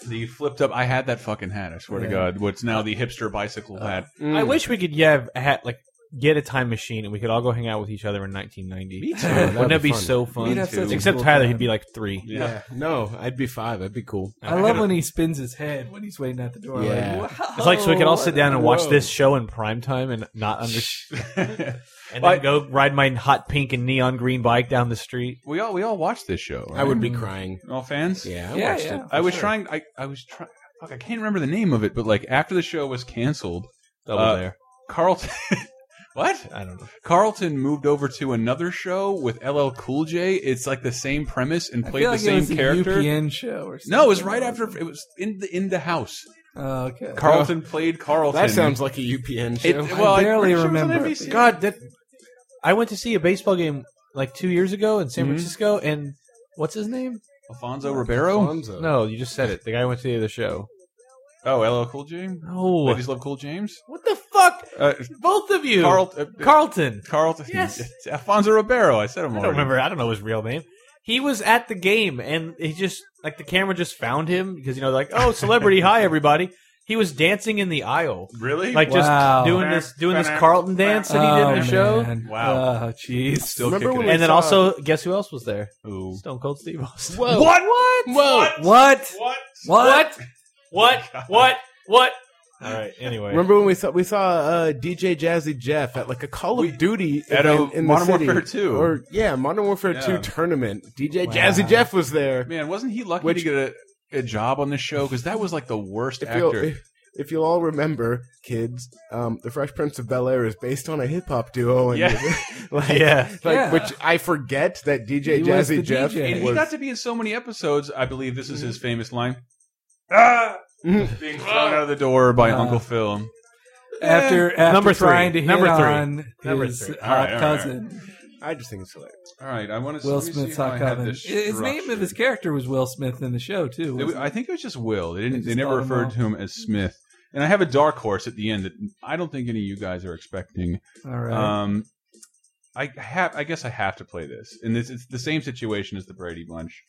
The flipped up. I had that fucking hat. I swear to Yeah. God, what's now the hipster bicycle Uh, hat. Mm. I wish we could yeah, have had like get a time machine and we could all go hang out with each other in 1990. Me too. Wouldn't That'd that be be, fun. so fun? We'd have such a Except cool Tyler, time. he'd be like three. Yeah. no, I'd be five. That'd be cool. I, love when he spins his head when he's waiting at the door. Yeah. Like, wow, It's like so we could all what sit a- down and watch Whoa. this show in prime time and not understand. and then go ride my hot pink and neon green bike down the street. We all we all watched this show. I would be crying. All fans? Yeah, I Yeah, watched yeah. it. Mm. I was trying. I, I was trying. Fuck, I can't remember the name of it, but like after the show was canceled, Double uh, Dare. Carlton. what? I don't know. Carlton moved over to another show with LL Cool J. It's like the same premise and I played feel the like it same was a character. UPN show or no, it was something. right after. It was in the in the house. Oh, okay. Carlton played Carlton. That sounds like a UPN It- show. well, I'm barely pretty sure it was on remember. NBC. God, that I went to see a baseball game like two years ago in San Mm-hmm. Francisco, and what's his name? Alfonso Ribeiro. Alfonso. No, you just said it. The guy who went to the other show. Oh, LL Cool J. No, Ladies love Cool James. what the fuck? Uh, Both of you, Carl- uh, Carlton. Carlton. Yes. It's Alfonso Ribeiro. I said him. I don't remember. I don't know his real name. He was at the game, and he just like the camera just found him because you know, like, oh, celebrity, hi everybody. He was dancing in the aisle, Really? like Wow. just doing this, doing this Carlton dance that he did in the Oh, show. man. Wow. Oh, jeez. Still Remember kicking when it. And then saw- also, guess who else was there? Ooh. Stone Cold Steve Austin. Whoa. What? Whoa. What? What? What? What? What? What? All right. Anyway, Remember when we saw we saw uh, DJ Jazzy Jeff at like a Call of Duty at a event in Modern the city. Warfare 2. or yeah, Modern Warfare Yeah. Two tournament. DJ Jazzy Jeff was there. Man, wasn't he lucky Which- to get a, a job on this show? Because that was like the worst If you'll, actor. if, if you'll all remember, kids, um, the Fresh Prince of Bel Air is based on a hip hop duo, and Yeah. like, Yeah. like Yeah. which I forget that DJ He was the Jazzy Jeff DJ. and he was. got to be in so many episodes. I believe this is his Mm-hmm. famous line. Ah! Being thrown out of the door by Ah. Uncle Phil. After, after Number three. trying to hit Number three. on Number his three. hot All right, all right, all right. cousin, I just think it's hilarious. All right, I want to. Will let me see Smith's how I hot have cousin. this His name of structured. his character was Will Smith in the show, too. It wasn't was- I think it was just Will. They They didn't. just They never called him referred Will. to him as Smith. And I have a dark horse at the end that I don't think any of you guys are expecting. it? All right. Um, I have. I guess I have to play this, and this it's the same situation as the Brady Bunch.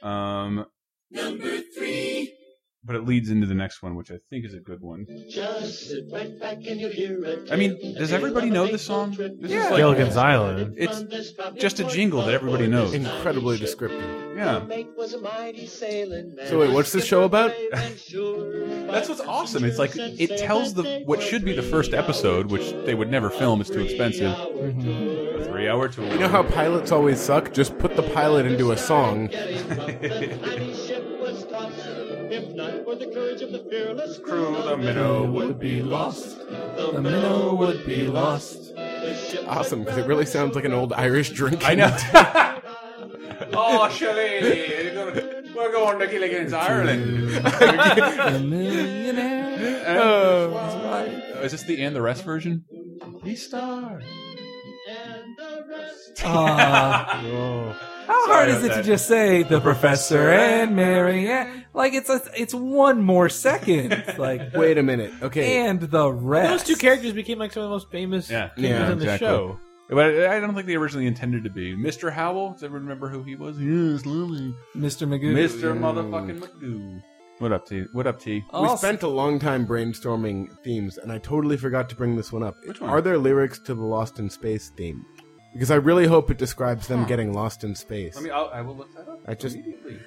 Um, Number three. But it leads into the next one, which I think is a good one. Just sit right back and you'll hear it. I mean, does everybody know this song? This Yeah. Gilligan's Island. It's just a jingle that everybody knows. Incredibly descriptive. Yeah, So wait, what's the show about? that's what's awesome. It's like it tells the what should be the first episode, which they would never film. It's too expensive. Mm-hmm. A three-hour tour. You know how pilots always suck? Just put the pilot into a song. crew the minnow would be lost. The minnow would be lost. Awesome, because it really sounds like an old Irish drink. I know. oh, Shelley, we're going to Gilligan's Ireland. Uh, is this the and the rest version? He star. Ah. Oh. How hard is it to just say the professor and Mary Ann? Like it's a, it's one more second. Like Wait a minute. Okay. and the Those rest. two characters became like some of the most famous characters in the show. But I I don't think they originally intended to be. Mr. Howell, does everyone remember who he was? Yes, lovely. Mr. Magoo. Mr. Motherfucking Magoo. What up, T? What up, T? We spent a long time brainstorming themes, and I totally forgot to bring this one up. Which one? Are there lyrics to the Lost in Space theme? Because I really hope it describes them getting lost in space. Let me. I'll, I will look that up. I just- immediately.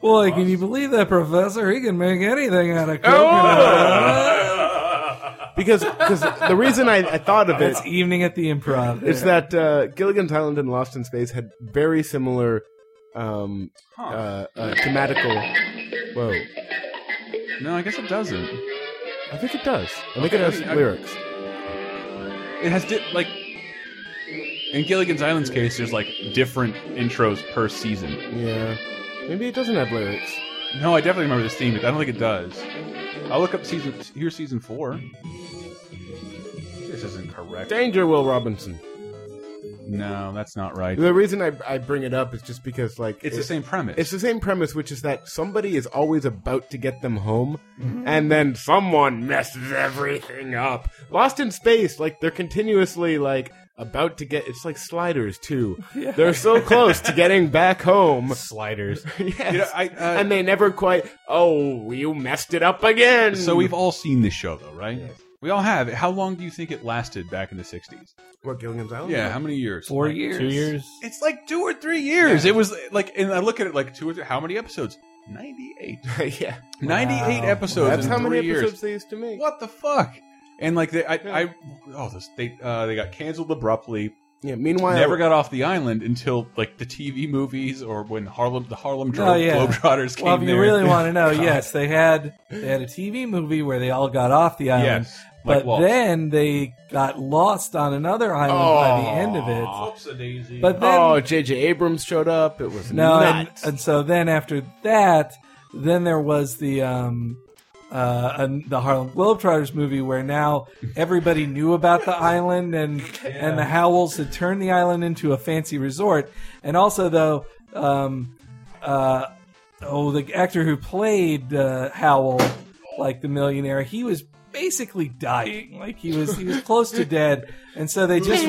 Boy, can you believe that professor? He can make anything out of coconut. Uh, because because the reason I, I thought of it That's evening at the improv. is that uh, Gilligan's Island and Lost in Space had very similar um, uh, uh, thematical. Whoa, No, I guess it doesn't. I think it does. I think Okay, it has I mean, I- lyrics. It has di- like in Gilligan's Island's case, there's like different intros per season. Yeah, maybe it doesn't have lyrics. No, I definitely remember this theme, but I don't think it does. I'll look up season. Here's season four. This isn't correct. Danger, Will Robinson. No, that's not right. The reason I, I bring it up is just because like It's the same premise. It's the same premise, which is that somebody is always about to get them home, and then someone messes everything up. Lost in space, like they're continuously like about to get. It's like sliders too. They're so close to getting back home. Sliders. yes. You know, I- uh, and they never quite. Oh, you messed it up again. So we've all seen this show, though, right? We all have. it. How long do you think it lasted back in the '60s? what Gilligan's Island? Yeah, how many years? Oh, Four Like, years. Two years. It's like two or three years. It was like, and I look at it like two or three. How many episodes? Ninety-eight. yeah, 98 episodes. that's in how many three years. episodes they used to make. What the fuck? And like they, I, I oh, this, they uh, they got canceled abruptly. Yeah. Meanwhile, Never got off the island until like the TV movies or when Harlem the Harlem Dro- Oh, yeah. Globetrotters came. Well, if you there. really want to know, God. yes, they had they had a TV movie where they all got off the island, Yes, like Um, but Walt. then they got lost on another island by the end of it. Whoopsie-daisy. But then oh, J.J. Abrams showed up. It was no, and, nuts. and so then after that, then there was the um, uh, an- the Harlem Globetrotters movie where now everybody knew about the island and and the Howells had turned the island into a fancy resort. And also though, um, uh, oh, the actor who played uh, Howell, like the millionaire, he was basically dying like he was he was close to dead and so they just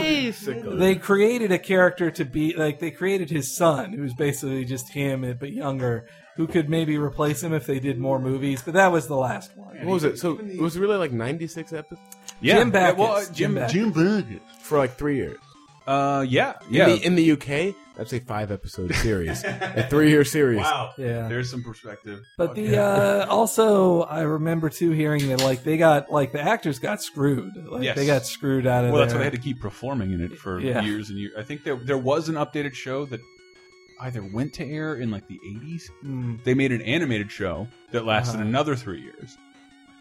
they created a character to be like they created his son, who's basically just him but younger, who could maybe replace him if they did more movies. But that was the last one. what was it? So it was really like 96 episodes yeah, Jim Backus. Yeah, well, uh, Jim Jim, Backus. Jim Backus. for like three years. Uh, yeah, In, yeah. the, in the UK, that's a five episode series, a three year series. wow. Yeah. There's some perspective. But the Okay. uh, also, I remember too hearing that like they got like the actors got screwed. Like Yes. they got screwed out of. well, that's why their- they had to keep performing in it for Yeah. years and years. I think there there was an updated show that either went to air in like the 80s Mm. they made an animated show that lasted Uh-huh. another three years,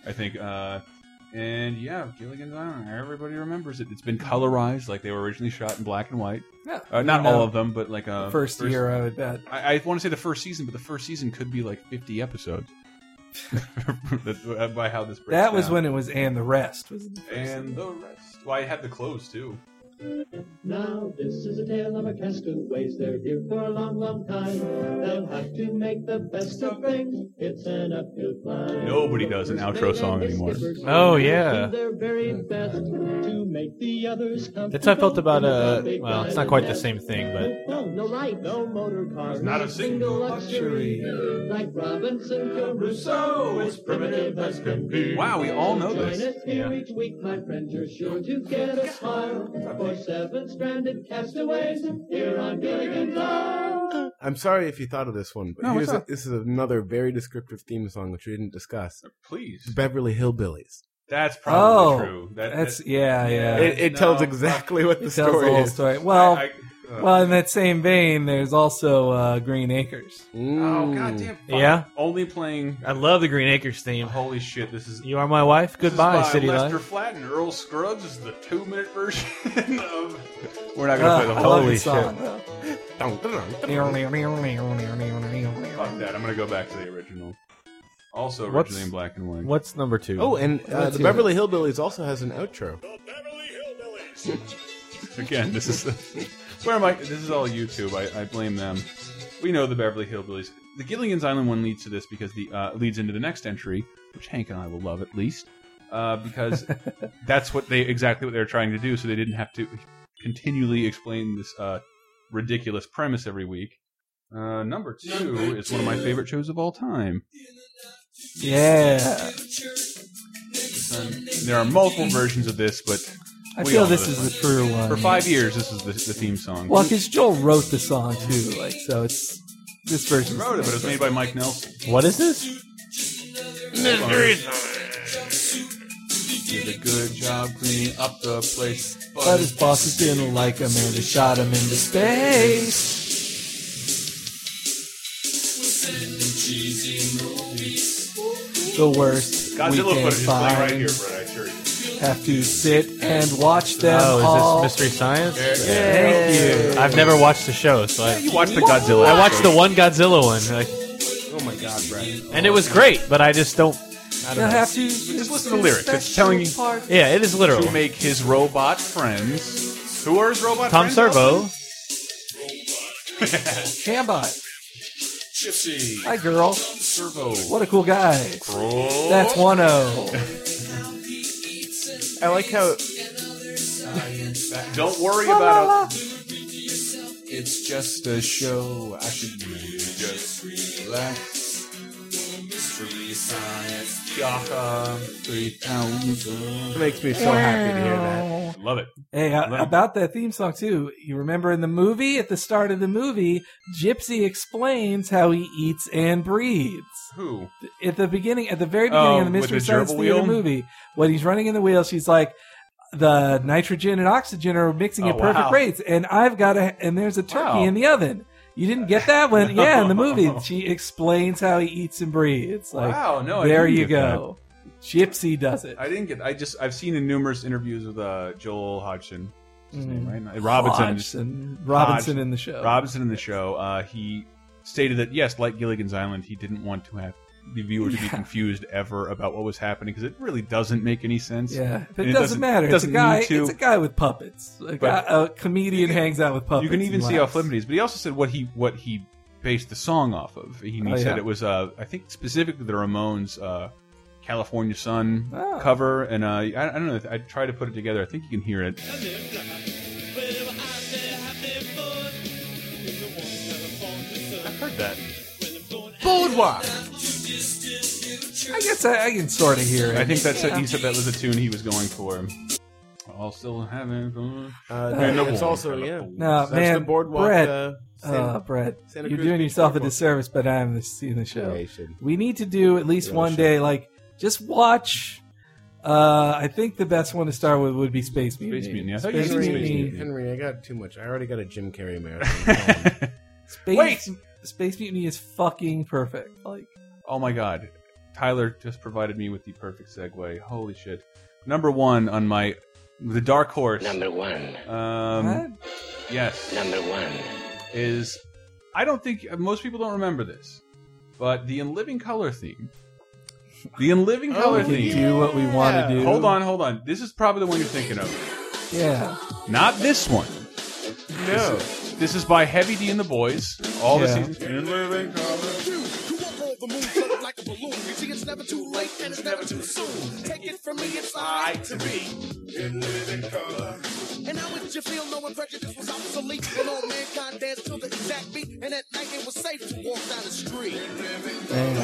I think. Uh, and yeah, Gilligan's Island. Everybody remembers it. It's been colorized, like they were originally shot in black and white. Mm-hmm. Yeah. Uh, not No. all of them, but like uh, The first, year, I would bet. I, I want to say the first season, but the first season could be like fifty episodes. That- by how this breaks That was down. when it was and the rest was. The first And the rest. Well, I had the close too. Now this is a tale of a castaways. They're here for a long, long time. They'll have to make the best of things. It's an uphill climb. Nobody does an outro song anymore. Oh, yeah. Do their very best to make the others That's how I felt about uh. comfortable. Well, it's not quite the same thing, but No, no right, no motor car, not a single luxury. Like Robinson Crusoe, it's primitive as can be. Wow, we all know Join this. us here each week, my friend. You're sure to get a smile for seven stranded castaways here on Gilligan's Island. I'm sorry if you thought of this one, but No, here's what's a, up? this is another very descriptive theme song which we didn't discuss Please, Beverly Hillbillies. that's probably Oh, true. That, that's yeah, yeah. Yeah. It, it No. tells exactly what the tells story the whole is. story. Well, I- uh, Well, in that same vein, there's also uh, Green Acres. Mm. Oh goddamn! mm, fuck. Yeah. Only playing. I love the Green Acres theme. Holy shit! This is. You are my wife. This is Goodbye, by city Lester life. Flatt and Earl Scruggs This is the two-minute version of. We're not gonna play the Ah, I whole love this song. shit! Fuck that! I'm gonna go back to the original. Also originally What's- in black and white. What's number two? Oh, and uh, Let's the hear Beverly Hillbillies also has an outro. Again, this is where am I? This is all YouTube. I, I blame them. We know the Beverly Hillbillies. The Gilligan's Island one leads to this because the uh, leads into the next entry, which Hank and I will love at least, uh, because that's what they exactly what they were trying to do. So they didn't have to continually explain this uh, ridiculous premise every week. Uh, number two is one of my favorite shows of all time. Yeah. There are multiple versions of this, but I we feel all know this is the true one. For five years, this is the, the theme song. Well, because Joel wrote the song too, like so it's this He version. wrote it, but it was made by Mike Nelson. What is this? Did a good job cleaning up the place, but, But his bosses didn't like him and they shot him into space. The worst. we Godzilla can footage is playing find. right here, Brett. I assure you. Have to sit and watch them oh, all. is this Mystery Science? Thank you. I've never watched the show, so I, You watched the Godzilla. I watched the one Godzilla one, like, Oh my god, Brad. and it was great, but I just don't. They'll I don't know. have to Just listen to the lyrics. It's telling you part. Yeah, it is literal. to make his robot friends. Who are his robot Tom friends? Servo. Shambot. Gypsy. Hi, girl. Servo. What a cool guy. That's one oh. o. I like how Don't worry about it. It's just a show. I should really just relax. Mystery science. Gotham. Three thousand. it makes me so happy to hear that. Love it. Hey, uh, about that theme song too. You remember in the movie, at the start of the movie, Gypsy explains how he eats and breathes. Who? At the beginning, at the very beginning Oh, of the with Mystery the Science gerbil Theater wheel? movie, when he's running in the wheel, she's like, "The nitrogen and oxygen are mixing Oh, at perfect wow. rates, and I've got a and there's a turkey Wow. in the oven." You didn't get that one, yeah. In the movie, No. she explains how he eats and breathes. Like, Wow, no, I there didn't you get that. go. Gypsy does it. I didn't get. I just. I've seen in numerous interviews with uh, Joel Hodgson. His Mm. name, right? Robinson. Hodgson. Robinson in the show. Robinson in the show. Uh, he stated that yes, like Gilligan's Island, he didn't want to have the viewer to be Yeah. confused ever about what was happening because it really doesn't make any sense. Yeah, And but it, doesn't, matter. It it's doesn't a guy. need to. It's a guy with puppets. A, guy, But- a comedian hangs out with puppets. you can even and see how laughs. flippant it is. But he also said what he what he based the song off of. He, Oh, said yeah. it was uh, I think specifically the Ramones. Uh, California Sun Oh. cover, and uh, I, I don't know. I tried to put it together. I think you can hear it. I've heard that. Boardwalk. I guess I, I can sort of hear it. I think that's he said that was a tune he was going for. I'll still have it. Uh, Man, no it's boy. also yeah. No, That's man, the boardwalk. Brett. uh, Uh, Santa- Brett, Santa you're Cruz doing Beach yourself a Boardwalk. disservice, but I am seeing the show. Yeah, you should. We need to do at least Yeah, one sure. day, like just watch. Uh, I think the best one to start with would be Space Mutiny. Space Mutiny, I thought you Space said Space Mutiny. Mutiny. Henry, I got too much. I already got a Jim Carrey marathon. Space, Space Mutiny is fucking perfect. Like, oh my god, Tyler just provided me with the perfect segue. Holy shit! Number one on my the dark horse. Number one. Um, yes, Number one. is I don't think most people don't remember this, but the In Living Color theme. The In Living Oh, Color we can theme. do what we want to do. Hold on, hold on. This is probably the one you're thinking of. yeah. Not this one. no, This is by Heavy D and the Boys. All Yeah. the seasons. In Living Color. And how would you feel knowing prejudice was obsolete when all mankind danced to the exact beat and at night it was safe to walk down the street? Man.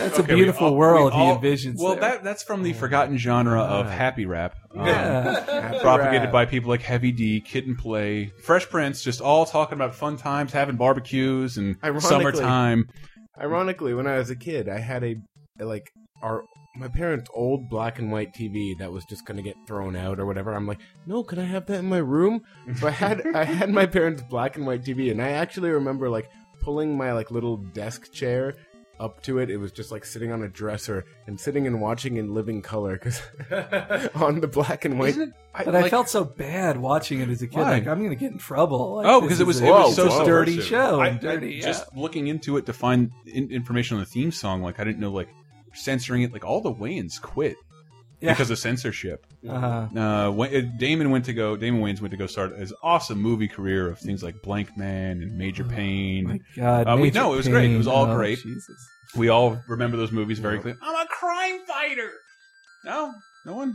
That's Okay, a we beautiful all- world we all- he envisions. Well, there. that that's from the forgotten genre of happy rap, um, propagated by people like Heavy D, Kid and Play, Fresh Prince, just all talking about fun times, having barbecues and Ironically- summertime. Ironically, when I was a kid, I had a, a, like our my parents' old black and white TV that was just gonna get thrown out or whatever. I'm like, no, can I have that in my room? So I had I had my parents' black and white TV, and I actually remember like pulling my like little desk chair up to it. It was just like sitting on a dresser and sitting and watching in living color because on the black and white. but I felt so bad watching it as a kid. Why? Like I'm going to get in trouble. Like, oh, this because it is was, a- it was so it's a dirty subversive. show. I- and I- dirty. yeah. Just looking into it to find in, information on the theme song, like I didn't know, like censoring it. Like all the Wayans quit Yeah. because of censorship. Uh-huh. Uh, Wa- uh, Damon went to go. Damon Wayans went to go start his awesome movie career of things like Blank Man and Major Pain. My God, Uh, we, Major no, it was great. It was all Payne. Oh, great. Jesus. We all remember those movies very clearly. I'm a crime fighter. No, no one.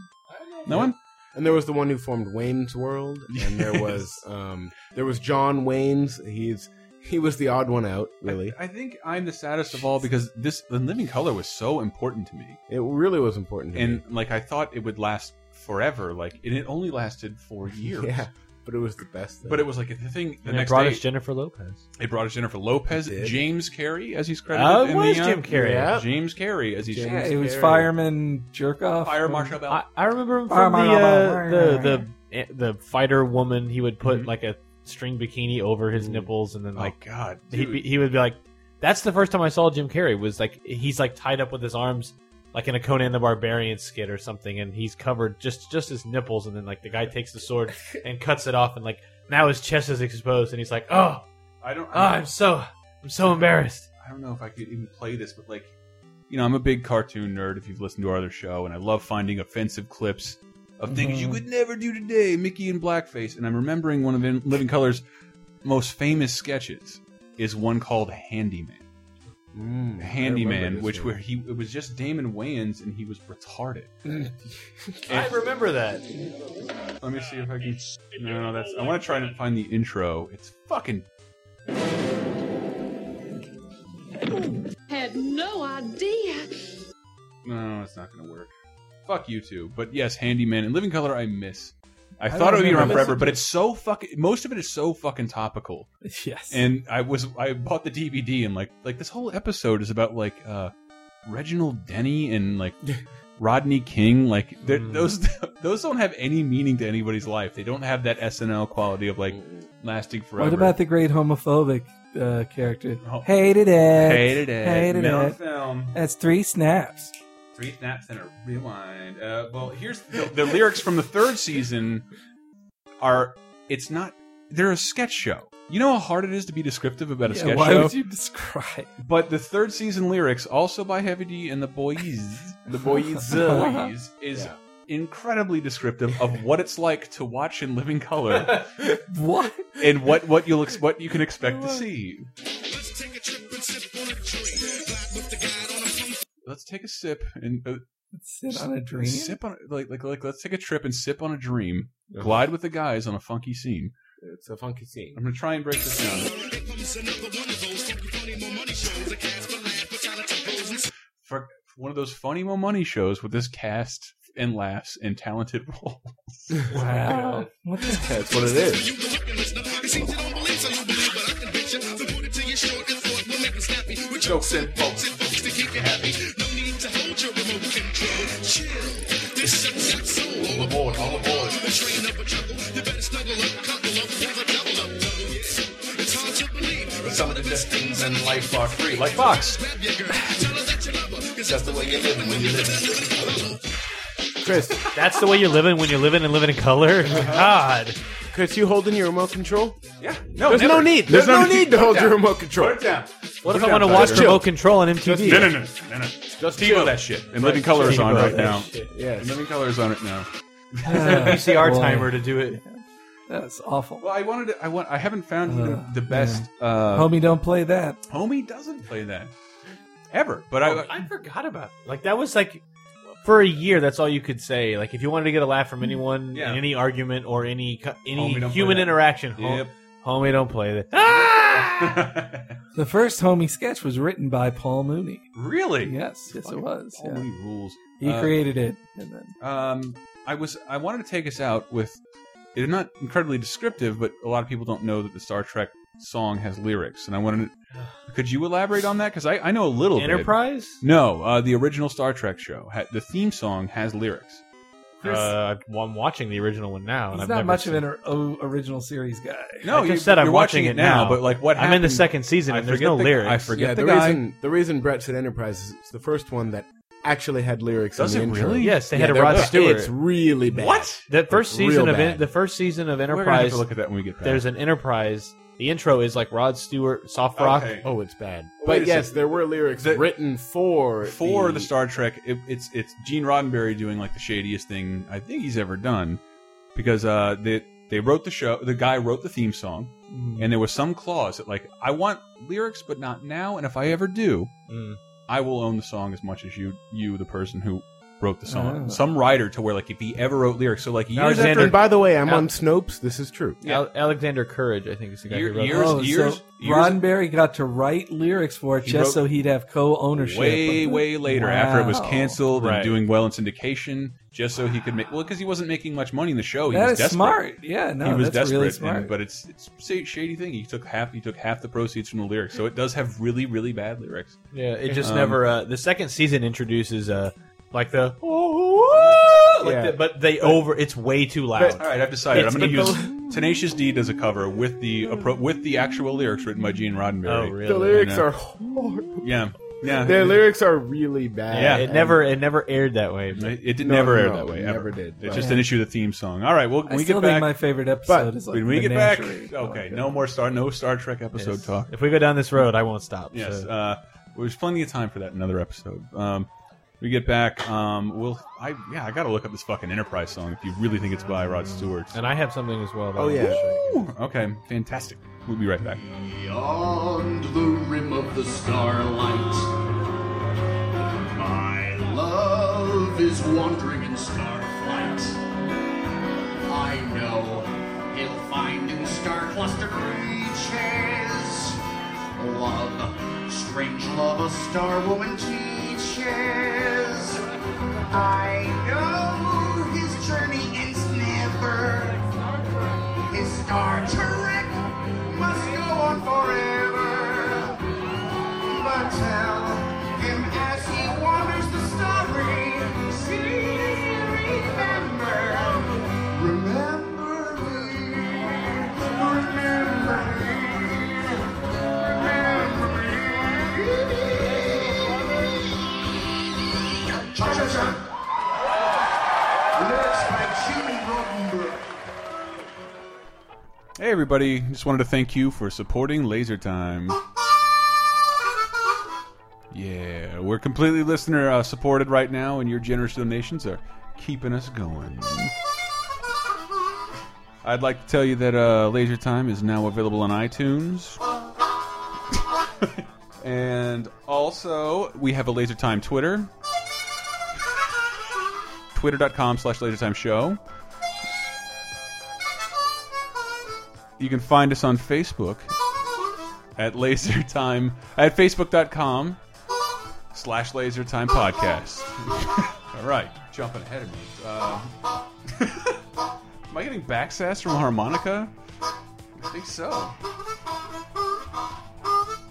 No one. And there was the one who formed Wayne's World, and there was um, there was John Wayne's. He's he was the odd one out, really. I think I'm the saddest of all because this the living color was so important to me. It really was important, to and like I thought it would last forever. Like and it only lasted four years. Yeah, but it was the best. Thing. But it was like the thing. And The it next brought day, us Jennifer Lopez. It brought us Jennifer Lopez, It did. James Carey, as he's credited. Oh, it in was the, uh, Jim Carrey. yeah, Yep. James Carey, as he's. Yeah, it was fireman jerk off. Fire Marshal Bell. I, I remember him Fire from the, Marshal uh, Bell. the the eh, the fighter woman. He would put like a string bikini over his nipples, and then like Oh, God, he'd be, he would be like, "That's the first time I saw Jim Carrey." Was like he's like tied up with his arms, like in a Conan the Barbarian skit or something, and he's covered just just his nipples, and then like the guy takes the sword and cuts it off, and like now his chest is exposed, and he's like, "Oh, I don't. oh, I'm so I'm so embarrassed." I don't know if I could even play this, but like, you know, I'm a big cartoon nerd. If you've listened to our other show, and I love finding offensive clips of things Mm-hmm. you Mhm. would never do today, Mickey and blackface. And I'm remembering one of In- Living Color's most famous sketches is one called Handyman. Mm, I remember Handyman, this which one. where he it was just Damon Wayans and he was retarded. I remember that. Let me see if I can. No, no, that's. I want to try and find the intro. It's fucking. Had no idea. No, it's not going to work. Fuck you two. But yes, Handyman and Living Color, I miss. I, I thought it would be remember around this. forever, but it's so fucking. Most of it is so fucking topical. Yes. And I was I bought the DVD and like like this whole episode is about like uh Reginald Denny and like Rodney King. Like they're- Hmm. those those don't have any meaning to anybody's life. They don't have that SNL quality of like lasting forever. What about the great homophobic uh, character? Hated it. Hated it. Hated Mel it. film. That's three snaps. Three snaps and a rewind. Uh, well, here's the, the lyrics from the third season are it's not they're a sketch show. You know how hard it is to be descriptive about a Yeah, sketch why show. would you describe? But the third season lyrics, also by Heavy D and the Boys, uh, the Boys. uh, Boys is incredibly descriptive of what it's like to watch in living color. what and what what you'll ex what you can expect to see. Let's take a sip and uh, sit on a dream? Sip on like like like. Let's take a trip and sip on a dream. Glide with the guys on a funky scene. It's a funky scene. I'm gonna try and break this down. For one of those funny mo money shows with this cast and laughs and talented roles. Wow. What the- That's what it is. Jokes and folks and folks to keep you happy. No need to hold your remote control. Chill. This sucks out soul. All aboard, all aboard. The train up a chuckle. You better snuggle up, cuddle up, never double up. double. It's hard to believe, but some of the best things in life are free. Like Fox. Grab your girl, tell her that you love her, 'cause that's the way you're living when you're living. Chris, that's the way you're living when you're living and living in color. God, Chris, you holding your remote control? Yeah, no, there's no never. need. There's, There's no, no need need. to Put it hold your down. remote control. Put it down. What if Put it I want to down, watch Tyler. remote control on MTV? No, no, no, no, no. Just TiVo that shit. And Living Color is on right now. Yes. And Living Color is on it now. VCR timer to do it. That's awful. Well, I wanted to. I want. I haven't found the, Uh, the best. Uh, Homie, don't play that. Homie doesn't play that ever. But Oh, I forgot about Like that was like for a year. That's all you could say. Like if you wanted to get a laugh from anyone in any argument or any co- any Homie, don't play human that. interaction, hom- Yep. homie, don't play that. Ah! The first homie sketch was written by Paul Mooney. Really? Yes, yes, it was. Paul yeah. Mooney rules. He Uh, created it, and then Um, I was I wanted to take us out with. It's not incredibly descriptive, but a lot of people don't know that the Star Trek song has lyrics, and I wanted. To, could you elaborate on that? Because I, I know a little. bit. Enterprise? No, uh, the original Star Trek show. Ha the theme song has lyrics. Uh, I've- well, I'm watching the original one now, and He's I've not never much seen. of an or- o- original series guy. No, I you- just said I'm you're watching, it now, but, like, what I'm in the happened- second season, I and there's forget no the- lyrics. I forget Yeah, the, reason the reason Brett said Enterprise is it's the first one that actually had lyrics. Does in it the intro. really? Yes, they had a they're- Rod Stewart. It's really bad. What? The first It's season real of en- bad. the first season of We're gonna Enterprise. have to look at that when we get back. There's an Enterprise. The intro is like Rod Stewart, soft rock. Okay. Oh, it's bad. But yes, there were lyrics The- written for for the, Star Trek. It, it's it's Gene Roddenberry doing like the shadiest thing I think he's ever done because uh, they they wrote the show. The guy wrote the theme song, Mhm. and there was some clause that like I want lyrics, but not now. And if I ever do, Mm. I will own the song as much as you you the person who wrote the song. Oh. Some writer to where like if he ever wrote lyrics, so like years Alexander. after. And by the way, I'm Al- on Snopes. This is true. Al- Alexander Courage, I think, is the guy who Year- wrote years- it. Oh, so years- Roddenberry got to write lyrics for it He just wrote- so he'd have co-ownership. Way, way later, after it was Wow. canceled Right. and doing well in syndication, just so he could make well because he wasn't making much money in the show. He That is was desperate. smart. Yeah, no, he was that's desperate. really and- smart. but it's it's a shady thing. He took half. He took half the proceeds from the lyrics, so it does have really, really bad lyrics. Yeah, it just Um, never. Uh, the second season introduces uh, like the. "Oh, Like Yeah. the, but they over. It's way too loud. All right, I've decided. It's- I'm going to but use the- Tenacious D as a cover with the appro with the actual lyrics written by Gene Roddenberry. Oh, really? The lyrics And, uh, are horrible. Yeah, yeah. Their lyrics are really bad. Yeah, it And- never. It never aired that way. It, it did No, never no, air no, that way. it ever. never did, It's but- just an issue. of The theme song. All right. I Well, when we still get think back. my favorite episode But is like when we the get back. Menagerie. Okay. No more star. No Star Trek episode talk. If we go down this road, I won't stop. Yes, so. uh, there's plenty of time for that in another episode. Um, we get back. Um, we'll. I yeah, I gotta look up this fucking Enterprise song if you really think it's by Rod Stewart. And I have something as well. that Oh, I wanna yeah. show you. Okay, fantastic. We'll be right back. Beyond the rim of the starlight, my love is wandering in starflight. I know he'll find in star clustered reaches love, strange love a star woman teaches. I know his journey ends never. His star Trek must go on forever. But tell him as he wanders the starry sea, remember, remember me, remember me, remember me. Cha-cha-cha. Lyrics by Gene Roddenberry. Hey everybody, just wanted to thank you for supporting Laser Time. Yeah, we're completely listener uh, supported right now, and your generous donations are keeping us going. I'd like to tell you that uh, Laser Time is now available on iTunes. and also, we have a Laser Time Twitter. Twitter.com slash LaserTime Show. You can find us on Facebook at LaserTime at Facebook.com slash LaserTime Podcast. All right, jumping ahead of me. Uh, am I getting back sass from harmonica? I think so.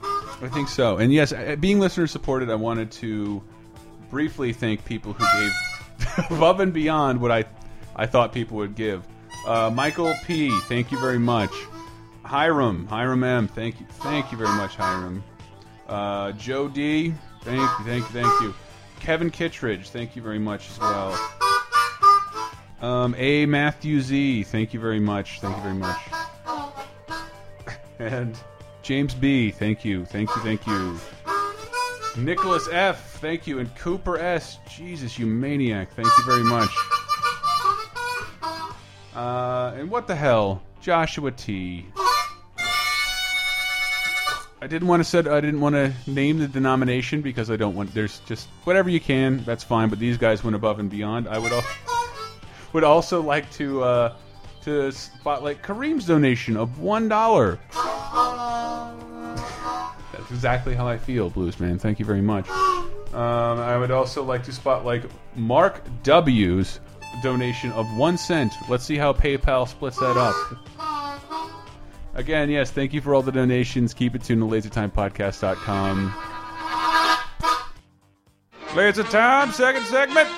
I think so. And yes, uh, being listener supported, I wanted to briefly thank people who gave above and beyond what I I thought people would give. Uh, Michael P, thank you very much. Hiram, Hiram M, thank you, thank you very much, Hiram. Uh, Joe D, thank you, thank you, thank you. Kevin Kittredge, thank you very much as well. Um, A Matthew Z, thank you very much, thank you very much. And James B, thank you, thank you, thank you. Nicholas F, thank you, and Cooper S, Jesus, you maniac, thank you very much. Uh, and what the hell, Joshua T. I didn't want to said I didn't want to name the denomination because I don't want. There's just whatever you can, that's fine. But these guys went above and beyond. I would also would also like to uh, to spotlight Kareem's donation of one dollar. That's exactly how I feel, Blues Man. Thank you very much. Um, I would also like to spotlight Mark W's donation of one cent. Let's see how PayPal splits that up. Again, yes, thank you for all the donations. Keep it tuned to lasertimepodcast.com. Laser time, second segment.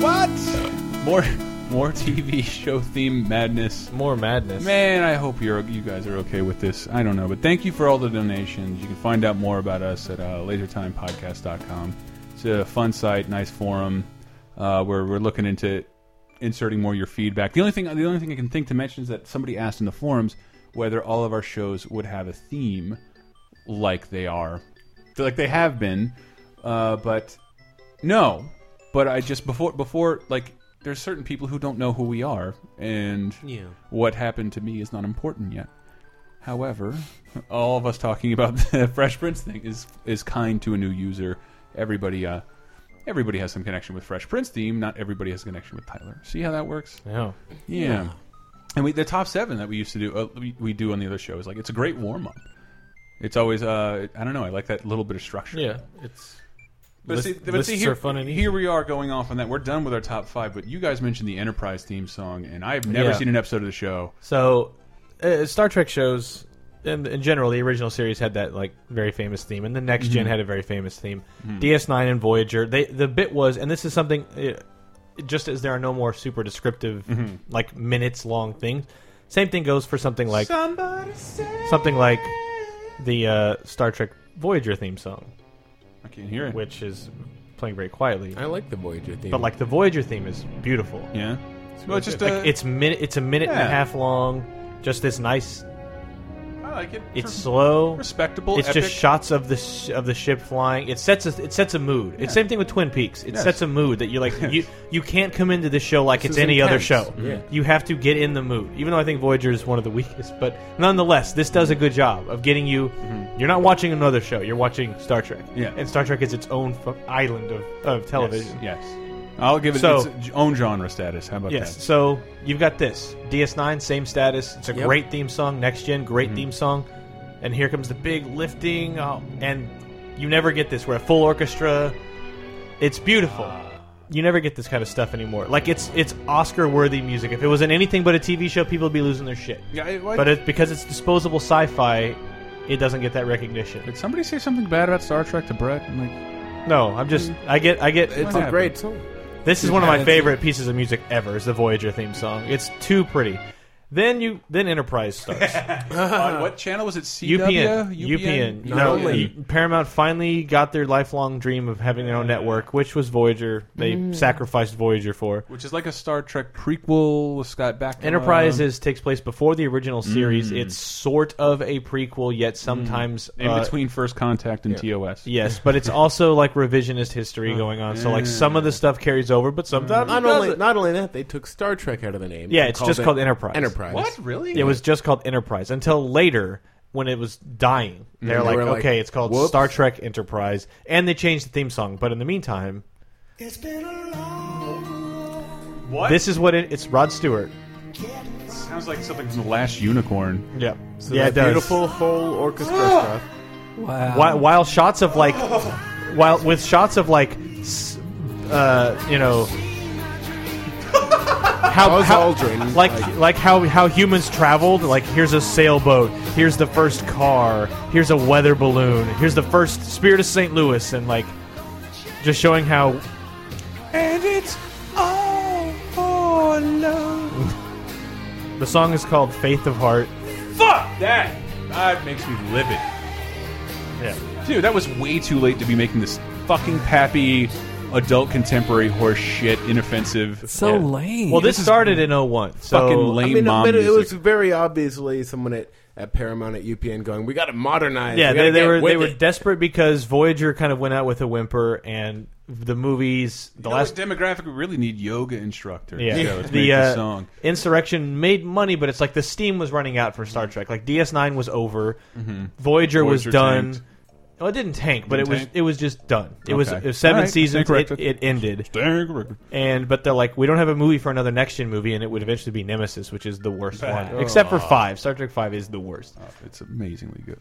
What? More, more TV show theme madness. More madness. Man, I hope you're you guys are okay with this. I don't know, but thank you for all the donations. You can find out more about us at uh, lasertimepodcast.com. It's a fun site, nice forum. Uh, where we're looking into inserting more of your feedback. The only thing the only thing I can think to mention is that somebody asked in the forums whether all of our shows would have a theme like they are, like they have been, uh, but no. But I just before before like there's certain people who don't know who we are, and Yeah. what happened to me is not important yet. However, all of us talking about the Fresh Prince thing is is kind to a new user. Everybody, uh, everybody has some connection with Fresh Prince theme. Not everybody has a connection with Tyler. See how that works? Yeah. Yeah. Yeah. And we the top seven that we used to do, uh, we, we do on the other show is like it's a great warm up. It's always uh, I don't know. I like that little bit of structure. Yeah, it's. But list- see, but lists see here, are fun and easy. here we are going off on that. We're done with our top five, but you guys mentioned the Enterprise theme song, and I've never Yeah. seen an episode of the show. So, uh, Star Trek shows, in, in general, the original series had that like very famous theme, and the next Mhm. gen had a very famous theme. Mhm. DS9 and Voyager. They the bit was, and this is something. Uh, just as there are no more super descriptive, Mhm. like minutes long things, same thing goes for something like Somebody say- something like the uh, Star Trek Voyager theme song. I can't hear it. Which is playing very quietly. I like the Voyager theme. But like the Voyager theme is beautiful. Yeah. Well, it's uh, just like, a- it's minute it's a minute and Yeah. a half long, just this nice I like it. it's Re- slow, respectable, It's epic. just shots of the sh- of the ship flying. It sets a it sets a mood. Yeah. It's same thing with Twin Peaks. It Yes. sets a mood that you're like you you can't come into this show like This it's is any other intense. show. Yeah. You have to get in the mood. Even though I think Voyager is one of the weakest, but nonetheless, this does a good job of getting you. You're not watching another show. You're watching Star Trek. Mm-hmm. Yeah. and Star Trek is its own fu- island of, of television. Yes. I'll give it So- its own genre status. How about Yes. that? So you've got this DS9, same status. It's a Yep. Mm-hmm. great theme song. Next gen, great theme song. And here comes the big lifting, oh, and you never get this. We're a full orchestra. It's beautiful. Ah. You never get this kind of stuff anymore. Like it's it's Oscar worthy music. If it wasn't anything but a TV show, people would be losing their shit. Yeah, it- but it's because it's disposable sci-fi, it doesn't get that recognition. Did somebody say something bad about Star Trek to Brett? I'm like, No, I'm just. I get. I get. It's a great song. This is one of Yeah, my it's- favorite pieces of music ever. Is the Voyager theme song. It's too pretty. Then you. Then Enterprise starts. on what channel was it? CW? UPN. UPN. No, E- you- Paramount finally got their lifelong dream of having their own network, which was Voyager. They Mm. sacrificed Voyager for. Which is like a Star Trek prequel with Scott Bakula. Enterprise is takes place before the original series. Um, Mm. It's sort of a prequel, yet sometimes in uh, between First Contact and TOS. Yes, but it's also like revisionist history going on. So like some of the stuff carries over, but sometimes not it doesn't. only not only that, they took Star Trek out of the name. Yeah, and it's just it called Enterprise. Enterprise. Really? It was just called Enterprise until later when it was dying. They're Mhm. They like, were like, okay, it's called whoops. Star Trek Enterprise, and they changed the theme song. But in the meantime, What? this is what it, it's Rod Stewart. sounds like something from the Last Unicorn. Yeah. So yeah, that it does. Ah! beautiful whole orchestra stuff. Wow. While, while shots of like, while with shots of like, s- uh, you know. How, Buzz how Aldrin, like like how how humans traveled like here's a sailboat here's the first car here's a weather balloon here's the first spirit of St. Louis and like just showing how And it's all for love. the song is called Faith of Heart Fuck that! That makes me livid. Yeah. Dude, that was way too late to be making this fucking pappy, adult contemporary horse shit, inoffensive. So lame. well this started in 01 so Fucking lame I mean, mom but it music. was very obviously someone at, at Paramount at UPN going, we got to modernize. Yeah, We gotta they, they get were with they were it." desperate because Voyager kind of went out with a whimper, and the movies, the The last last demographic we really need yoga instructors. yeah, So let's the make uh, the song. Insurrection made money, but it's like the steam was running out for Star Trek. Like DS9 was over, Mhm. Voyager, was Voyager done. tanked. Well, it didn't tank, but Didn't it was tank? it was just done. It was, Okay. it was seven All right, stand seasons. It, corrected. it ended. Stand corrected. And but they're like, we don't have a movie for another next gen movie, and it would eventually be Nemesis, which is the worst Bad. one, except for Oh. five. Star Trek five is the worst. it's amazingly good.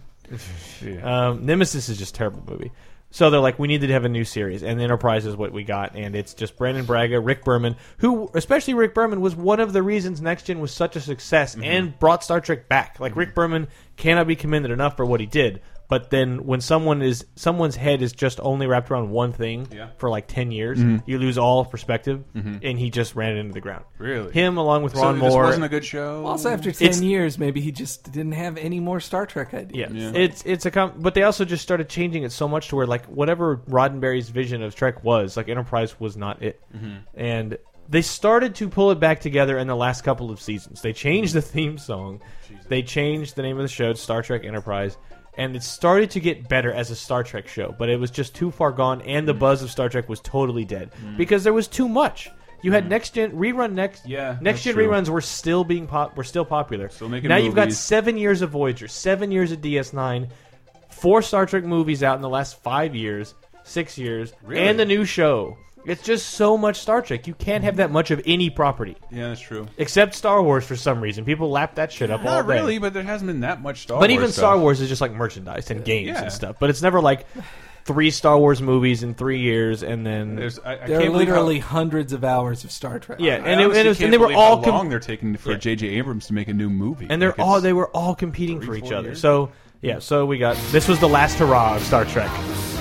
Um, Nemesis is just a terrible movie. So they're like, we need to have a new series, and Enterprise is what we got, and it's just Brandon Braga, Rick Berman, who, especially Rick Berman, was one of the reasons Next Gen was such a success Mm-hmm. and brought Star Trek back. Like Rick Berman cannot be commended enough for what he did. But then when someone is someone's head is just only wrapped around one thing for like ten years, Mhm. you lose all perspective, Mhm. and he just ran it into the ground. Really? him along with So Ron this Moore wasn't a good show? Also, after ten Mm. It's- years, maybe he just didn't have any more Star Trek ideas. Yeah. It's it's a com- but they also just started changing it so much to where like whatever Roddenberry's vision of Trek was, like Enterprise was not it. Mhm. And they started to pull it back together in the last couple of seasons. They changed the theme song. They changed the name of the show to Star Trek Enterprise. And it started to get better as a Star Trek show, but it was just too far gone, and Mm. the buzz of Star Trek was totally dead because there was too much. You had next gen rerun next Mm. Yeah, next gen that's true. reruns were still being pop were still popular. So making now you've got movies. seven years of Voyager, seven years of DS9, four Star Trek movies out in the last five years, six years, Really? and the new show. It's just so much Star Trek. You can't have that much of any property. Yeah, that's true. Except Star Wars for some reason. People lap that shit up all Not day. really, but there hasn't been that much Star but Wars even stuff. Star Wars is just like merchandise and games Yeah. and stuff. But it's never like three Star Wars movies in three years and then there are literally hundreds of hours of Star Trek. Yeah, I and, it, honestly and, it was, can't and they were believe all how com- long they're taking for J.J. Abrams to make a new movie, and they're Like, all it's- they were all competing for each four other. years? So yeah, so we got this was the last hurrah of Star Trek.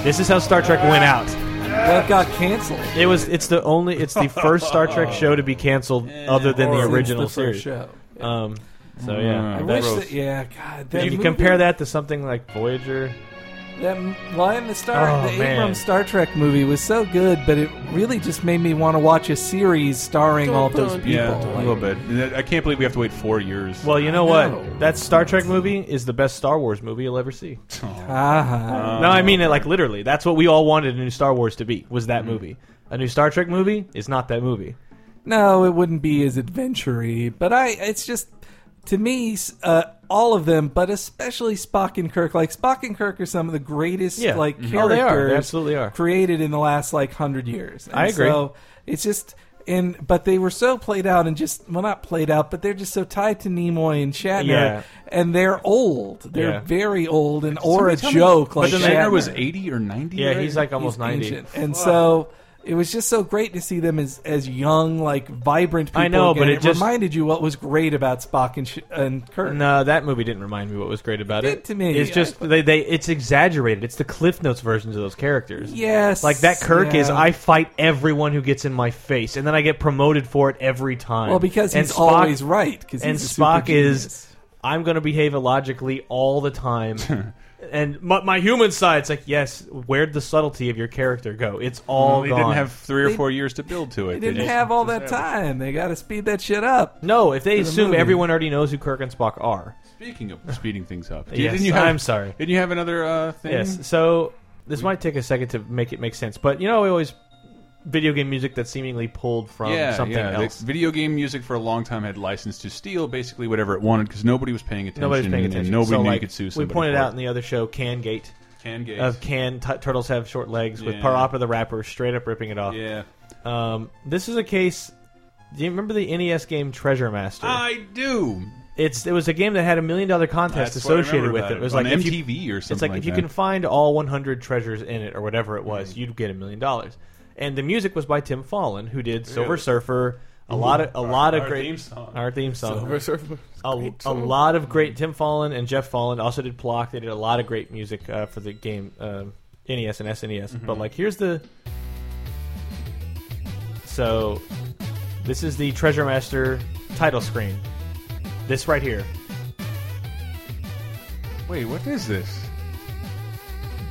This is how Star Trek went out. That got canceled. It was it's the only it's the first Star Trek show to be canceled other than Since the the original first series. show. Mm. Um, so yeah, I that- wish that- yeah, God, that If you movie- compare that to something like Voyager. That m- Lion the Star, Oh, the man. Abrams Star Trek movie was so good, but it really just made me want to watch a series starring all those people. yeah, Like, a little bit. And that- I can't believe we have to wait four years. Well, you know what? That Star Trek movie is the best Star Wars movie you'll ever see. Ah. No, I mean it like literally. That's what we all wanted a new Star Wars to be. Was Mm. that movie? A new Star Trek movie is not that movie. No, it wouldn't be as adventury, but I. It's just to me, s- uh, all of them, but especially Spock and Kirk. Like Spock and Kirk are some of the greatest Yeah. like Mhm. characters. Oh, they are. They absolutely are. created in the last like hundred years. I agree. So it's just. And but they were so played out and just well not played out but they're just so tied to Nimoy and Shatner Yeah. and they're old they're Yeah. very old and or a Somebody tell me- joke like but then Shatner was Shatner. eighty or ninety. Yeah, right? he's like almost He's 90. ancient. And so it was just so great to see them as as young, like vibrant people. I know, again. but it just- reminded you what was great about Spock and, Sh- and Kirk. No, that movie didn't remind me what was great about it. did to me. It's just they, they it's exaggerated. It's the Cliff Notes versions of those characters. Yes, Like that Kirk is yeah. I fight everyone who gets in my face and then I get promoted for it every time. Well, because and he's always right, 'cause and he's a super Spock is genius. I'm going to behave illogically all the time. And my, my human side's like, yes. Where'd the subtlety of your character go? It's all. Well, they didn't gone. have three or They- four years to build to it. They didn't have all that time. They got to speed that shit up. No, if they for the assume movie. everyone already knows who Kirk and Spock are. Speaking of speeding things up, Yes, didn't you have, I'm sorry. Didn't you have another uh, thing? Yes. So this might take a second to make it make sense, but you know, we always video game music that's seemingly pulled from yeah, um, something yeah. the else. video game music for a long time had license to steal basically whatever it wanted because nobody was paying attention. Nobody's paying attention. And nobody so, knew like, you could sue we somebody. pointed for out in the other show, Can Gate. Can Gate. Of can t- turtles have short legs with Yeah. Parappa the Rapper straight up ripping it off. Yeah. Um, this is a case. Do you remember the NES game Treasure Master? I do. It's it was a game that had a million dollar contest That's what I associated remember with about it. it. It was On like if you- MTV or It's something like if like you that. Mm-hmm. can find all 100 treasures in it or whatever it was, you'd get a million dollars. And the music was by Tim Fallon, who did Silver Really? Surfer, a lot of a Ooh, lot of our great theme song. our theme song, Silver Surfer was a a, great a song. Mm-hmm. lot of great Tim Fallon and Jeff Fallon also did Plock. They did a lot of great music uh, for the game um NES and SNES. Mm-hmm. But like here's the so this is the Treasure Master title screen. This right here. Wait, what is this?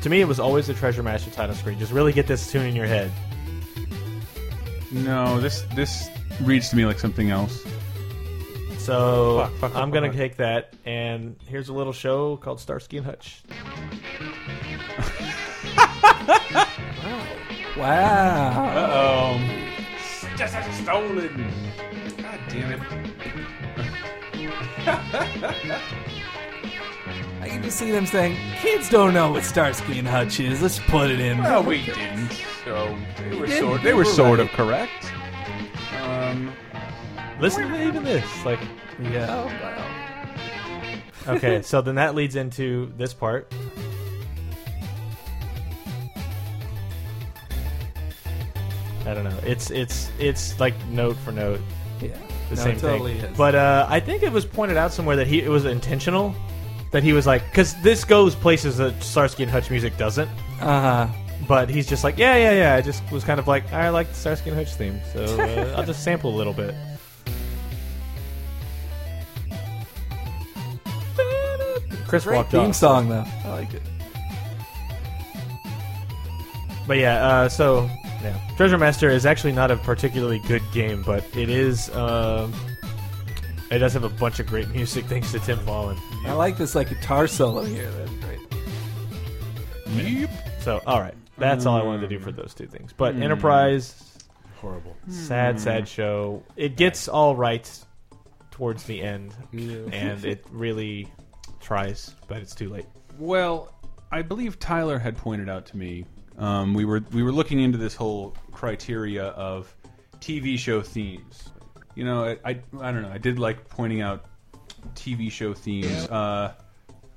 To me, it was always the Treasure Master title screen. Just really get this tune in your head. No, this this reads to me like something else. So Fuck, fuck, fuck, I'm fuck, gonna fuck. take that, and here's a little show called Starsky and Hutch. Wow. Uh-oh. Just stolen. God damn it. I can just see them saying, kids don't know what Starsky and Hutch is. Let's put it in. Well, we didn't. So they were didn't. sort. You They were were sort right. of correct. Um, Listen to even this, like Yeah. okay, so then that leads into this part. I don't know. It's it's it's like note for note. Yeah. The No, same it totally thing. is. But uh, I think it was pointed out somewhere that he it was intentional that he was like cuz this goes places that Starsky and Hutch music doesn't. Uh-huh. But he's just like, yeah, yeah, yeah. I just was kind of like, I like the Starsky and Hutch theme, so uh, I'll just sample a little bit. Chris Great walked theme off. song, though. I like it. But yeah, uh, so yeah, Treasure Master is actually not a particularly good game, but it is. Um, it does have a bunch of great music thanks to Tim Fallon. I like this like guitar solo here. That's great. Yep. So all right, that's all I wanted to do for those two things. But Hmm. Enterprise, Mm. Horrible. sad, Hmm. sad show. It gets all right towards the end, Yeah. and it really tries, but it's too late. Well, I believe Tyler had pointed out to me um, we were we were looking into this whole criteria of TV show themes. You know, I, I I don't know. I did like pointing out TV show themes. Uh,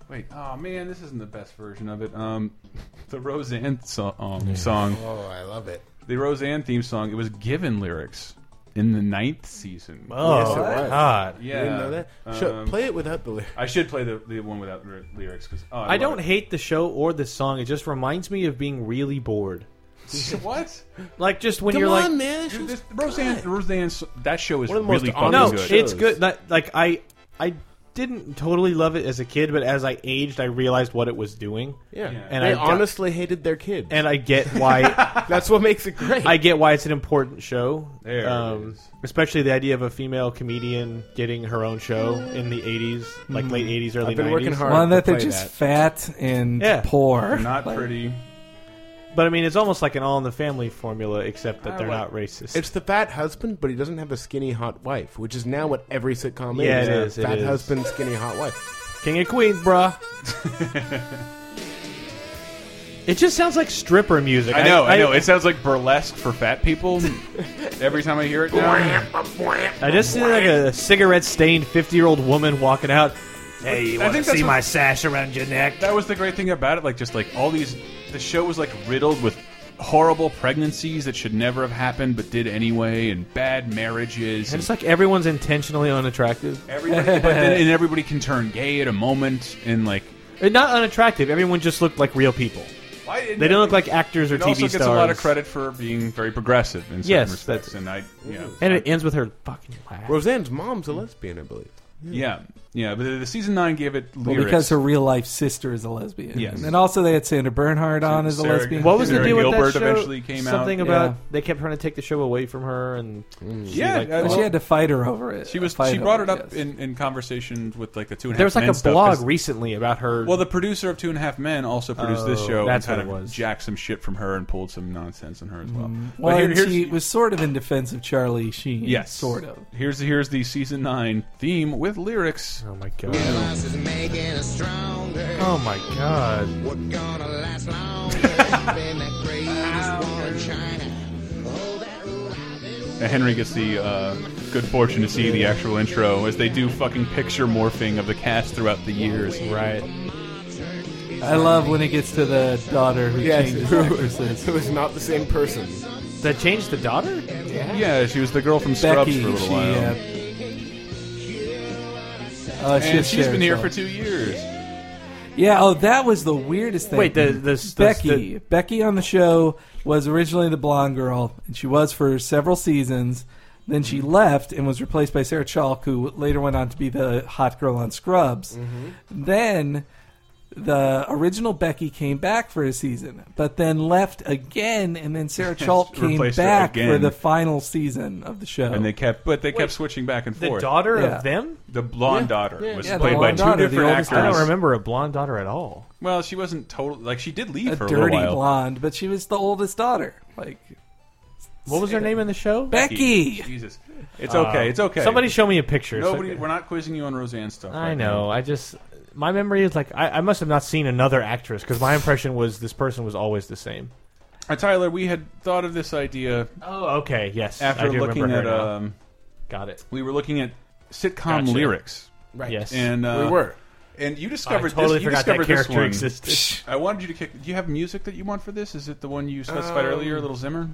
wait, oh man, this isn't the best version of it. Um, the Roseanne so um, song. Oh, I love it. The Roseanne theme song. It was given lyrics in the ninth season. Oh, yes, it was. God. You didn't know that? Sure, Um, play it without the lyrics. I should play the, the one without ly- lyrics because oh, I, love don't it. hate the show or the song. It just reminds me of being really bored. what? Like just when Come you're on, like, man. this Dude, show's this, Roseanne, Roseanne's that show is One of the most really fucking honest no, good. it's shows. good. Not- Like I, I didn't totally love it as a kid, but as I aged, I realized what it was doing. Yeah. Yeah. And they I got- honestly hated their kids. and I get why. That's what makes it great. I get why it's an important show. Um, There it is. especially the idea of a female comedian getting her own show in the '80s, like late Mm. '80s, early I've been 90s. working hard. One to that they're play just that. fat and Yeah. poor. Not Like, pretty. But I mean, it's almost like an All in the Family formula, except that I they're like- not racist. It's the fat husband, but he doesn't have a skinny hot wife, which is now what every sitcom Yeah, is. it is, it Fat is. husband, skinny hot wife. King and Queens, bruh. it just sounds like stripper music. I know, I, know. It sounds like burlesque for fat people. Every time I hear it now, I just see like a cigarette-stained fifty-year-old woman walking out. Hey, you I want to think that's see what- my sash around your neck? that was the great thing about it. Like, just like all these, the show was like riddled with horrible pregnancies that should never have happened but did anyway, and bad marriages. And And it's like everyone's intentionally unattractive. everybody, but then, and everybody can turn gay at a moment, and like Uh, Not unattractive. Everyone just looked like real people. They don't look like actors or It TV also stars. gets a lot of credit for being very progressive in certain Yes, respects, that's- and I, yeah, And it ends with her fucking laugh. Roseanne's mom's a lesbian, I believe. yeah, yeah. But the, the season nine gave it well, lyrics. because her real life sister is a lesbian. Yes. And then also they had Sandra Bernhard on as a Sarah- lesbian. What was the Sarah deal with Gilbert that show? eventually came out. Something about Yeah. they kept trying to take the show away from her, and she, Yeah, like, uh, And fought. she had to fight her over it. She was. Fight She brought it over up yes. in, in conversation with like the two and a half. there was like Men a stuff, blog 'cause- recently about her. well, the producer of Two and a Half Men also produced this Oh, show. that's and what kind it of was. jacked some shit from her and pulled some nonsense on her as well. But Mm-hmm. Well, here- and here's- she was sort of in defense of Charlie Sheen. yes, Sort of. Here's here's the season nine theme with lyrics. oh my god! This is making us stronger. Oh my god! We're gonna last longer than that greatest war in China. And Henry gets the uh, good fortune to see the actual intro as they do fucking picture morphing of the cast throughout the years. Oh, Right. I love when it gets to the daughter who Yes, changes who- actresses. who is not the same person. That changed the daughter. Yeah, she was the girl from Scrubs Becky, for a little she, while. uh, Oh, it's and just she's been Sarah here for Silverman. two years. Yeah. Oh, that was the weirdest thing. Wait, the the, the Becky. the- Becky on the show was originally the blonde girl, and she was for several seasons. Then she Mm-hmm. left and was replaced by Mm-hmm. Sarah Chalk, who later went on to be the hot girl on Scrubs. Then the original Becky came back for a season, but then left again, and then Sarah Chalt came Replaced her back for again. the final season of the show. Oh. And they kept, but they Wait, kept switching back and the forth. daughter of Yeah. them? the blonde Yeah. daughter, Yeah, was yeah, the played by blonde two daughter, the different oldest actors. daughter. I don't remember a blonde daughter at all. Well, she wasn't total. Like she did leave a for a dirty little while. blonde, but she was the oldest daughter. Like, What was her name in the show? Becky. Jesus, it's okay. It's okay. Somebody show me a picture. It's Nobody. okay. We're not quizzing you on Roseanne stuff. I right know. I just my memory is like I, I must have not seen another actress because my impression was this person was always the same. Uh, Tyler, we had thought of this idea. Oh, okay, yes. After I do looking at, remember her now. um, got it. We were looking at sitcom Gotcha. lyrics, Right. Yes. and uh, We were. And you discovered I totally this. You forgot that discovered this character one. existed. I wanted you to kick. Do you have music that you want for this? Is it the one you specified Um, earlier, Little Zimmer?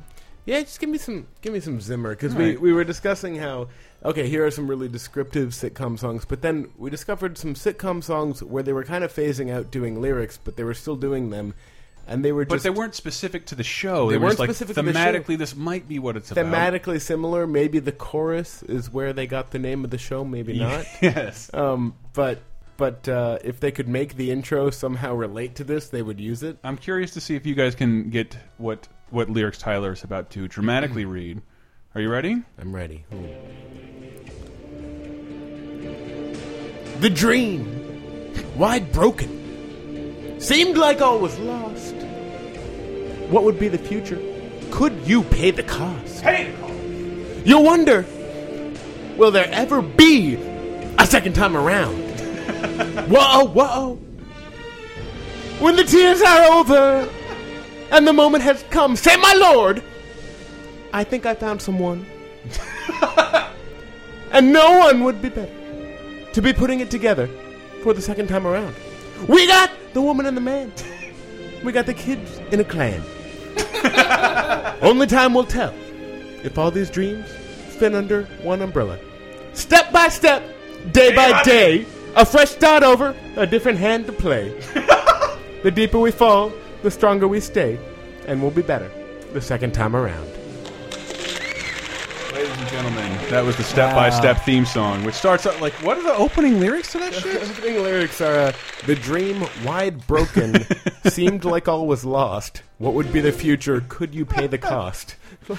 Yeah, just give me some give me some Zimmer because All we, right. we were discussing how okay here are some really descriptive sitcom songs, but then we discovered some sitcom songs where they were kind of phasing out doing lyrics, but they were still doing them, and they were But just they weren't specific to the show. They were weren't just like, specific to the show. thematically. This might be what it's about. thematically similar. Maybe the chorus is where they got the name of the show. Maybe not. yes. Um. But but uh, if they could make the intro somehow relate to this, they would use it. I'm curious to see if you guys can get what what lyrics Tyler is about to dramatically read. Are you ready? I'm ready. The dream, wide broken, seemed like all was lost. What would be the future? Could you pay the cost? Hey! You wonder, will there ever be a second time around? whoa, whoa! When the tears are over and the moment has come, say, my lord, I think I found someone. and no one would be better to be putting it together for the second time around. We got the woman and the man. We got the kids in a clan. Only time will tell if all these dreams fit under one umbrella. Step by step, day by day, a fresh start over, a different hand to play. the deeper we fall, the stronger we stay, and we'll be better the second time around. Ladies and gentlemen, that was the step by step theme song, which starts out like, what are the opening lyrics to that shit? opening lyrics are uh, The dream wide broken seemed like all was lost. What would be the future? Could you pay the cost? Hey,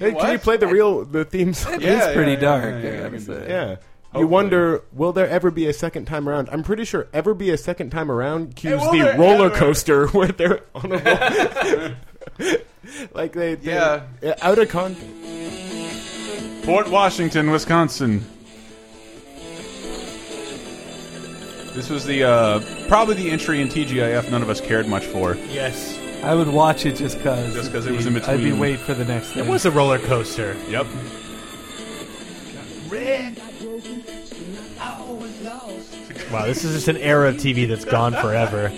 can you What? play the real the theme song? It Yeah, is pretty yeah, yeah, dark, yeah, I yeah, gotta I can do say. that. Yeah. Hopefully. You wonder, will there ever be a second time around? I'm pretty sure ever be a second time around cues will the there roller ever? coaster where they're on a roll. like they, they Yeah. out of con Port Washington, Wisconsin. This was the uh, probably the entry in TGIF none of us cared much for. Yes. I would watch it just because. Just 'cause it was in I'd be between. wait for the next. Thing. It was a roller coaster. Yep. Red! Wow, this is just an era of TV that's gone forever.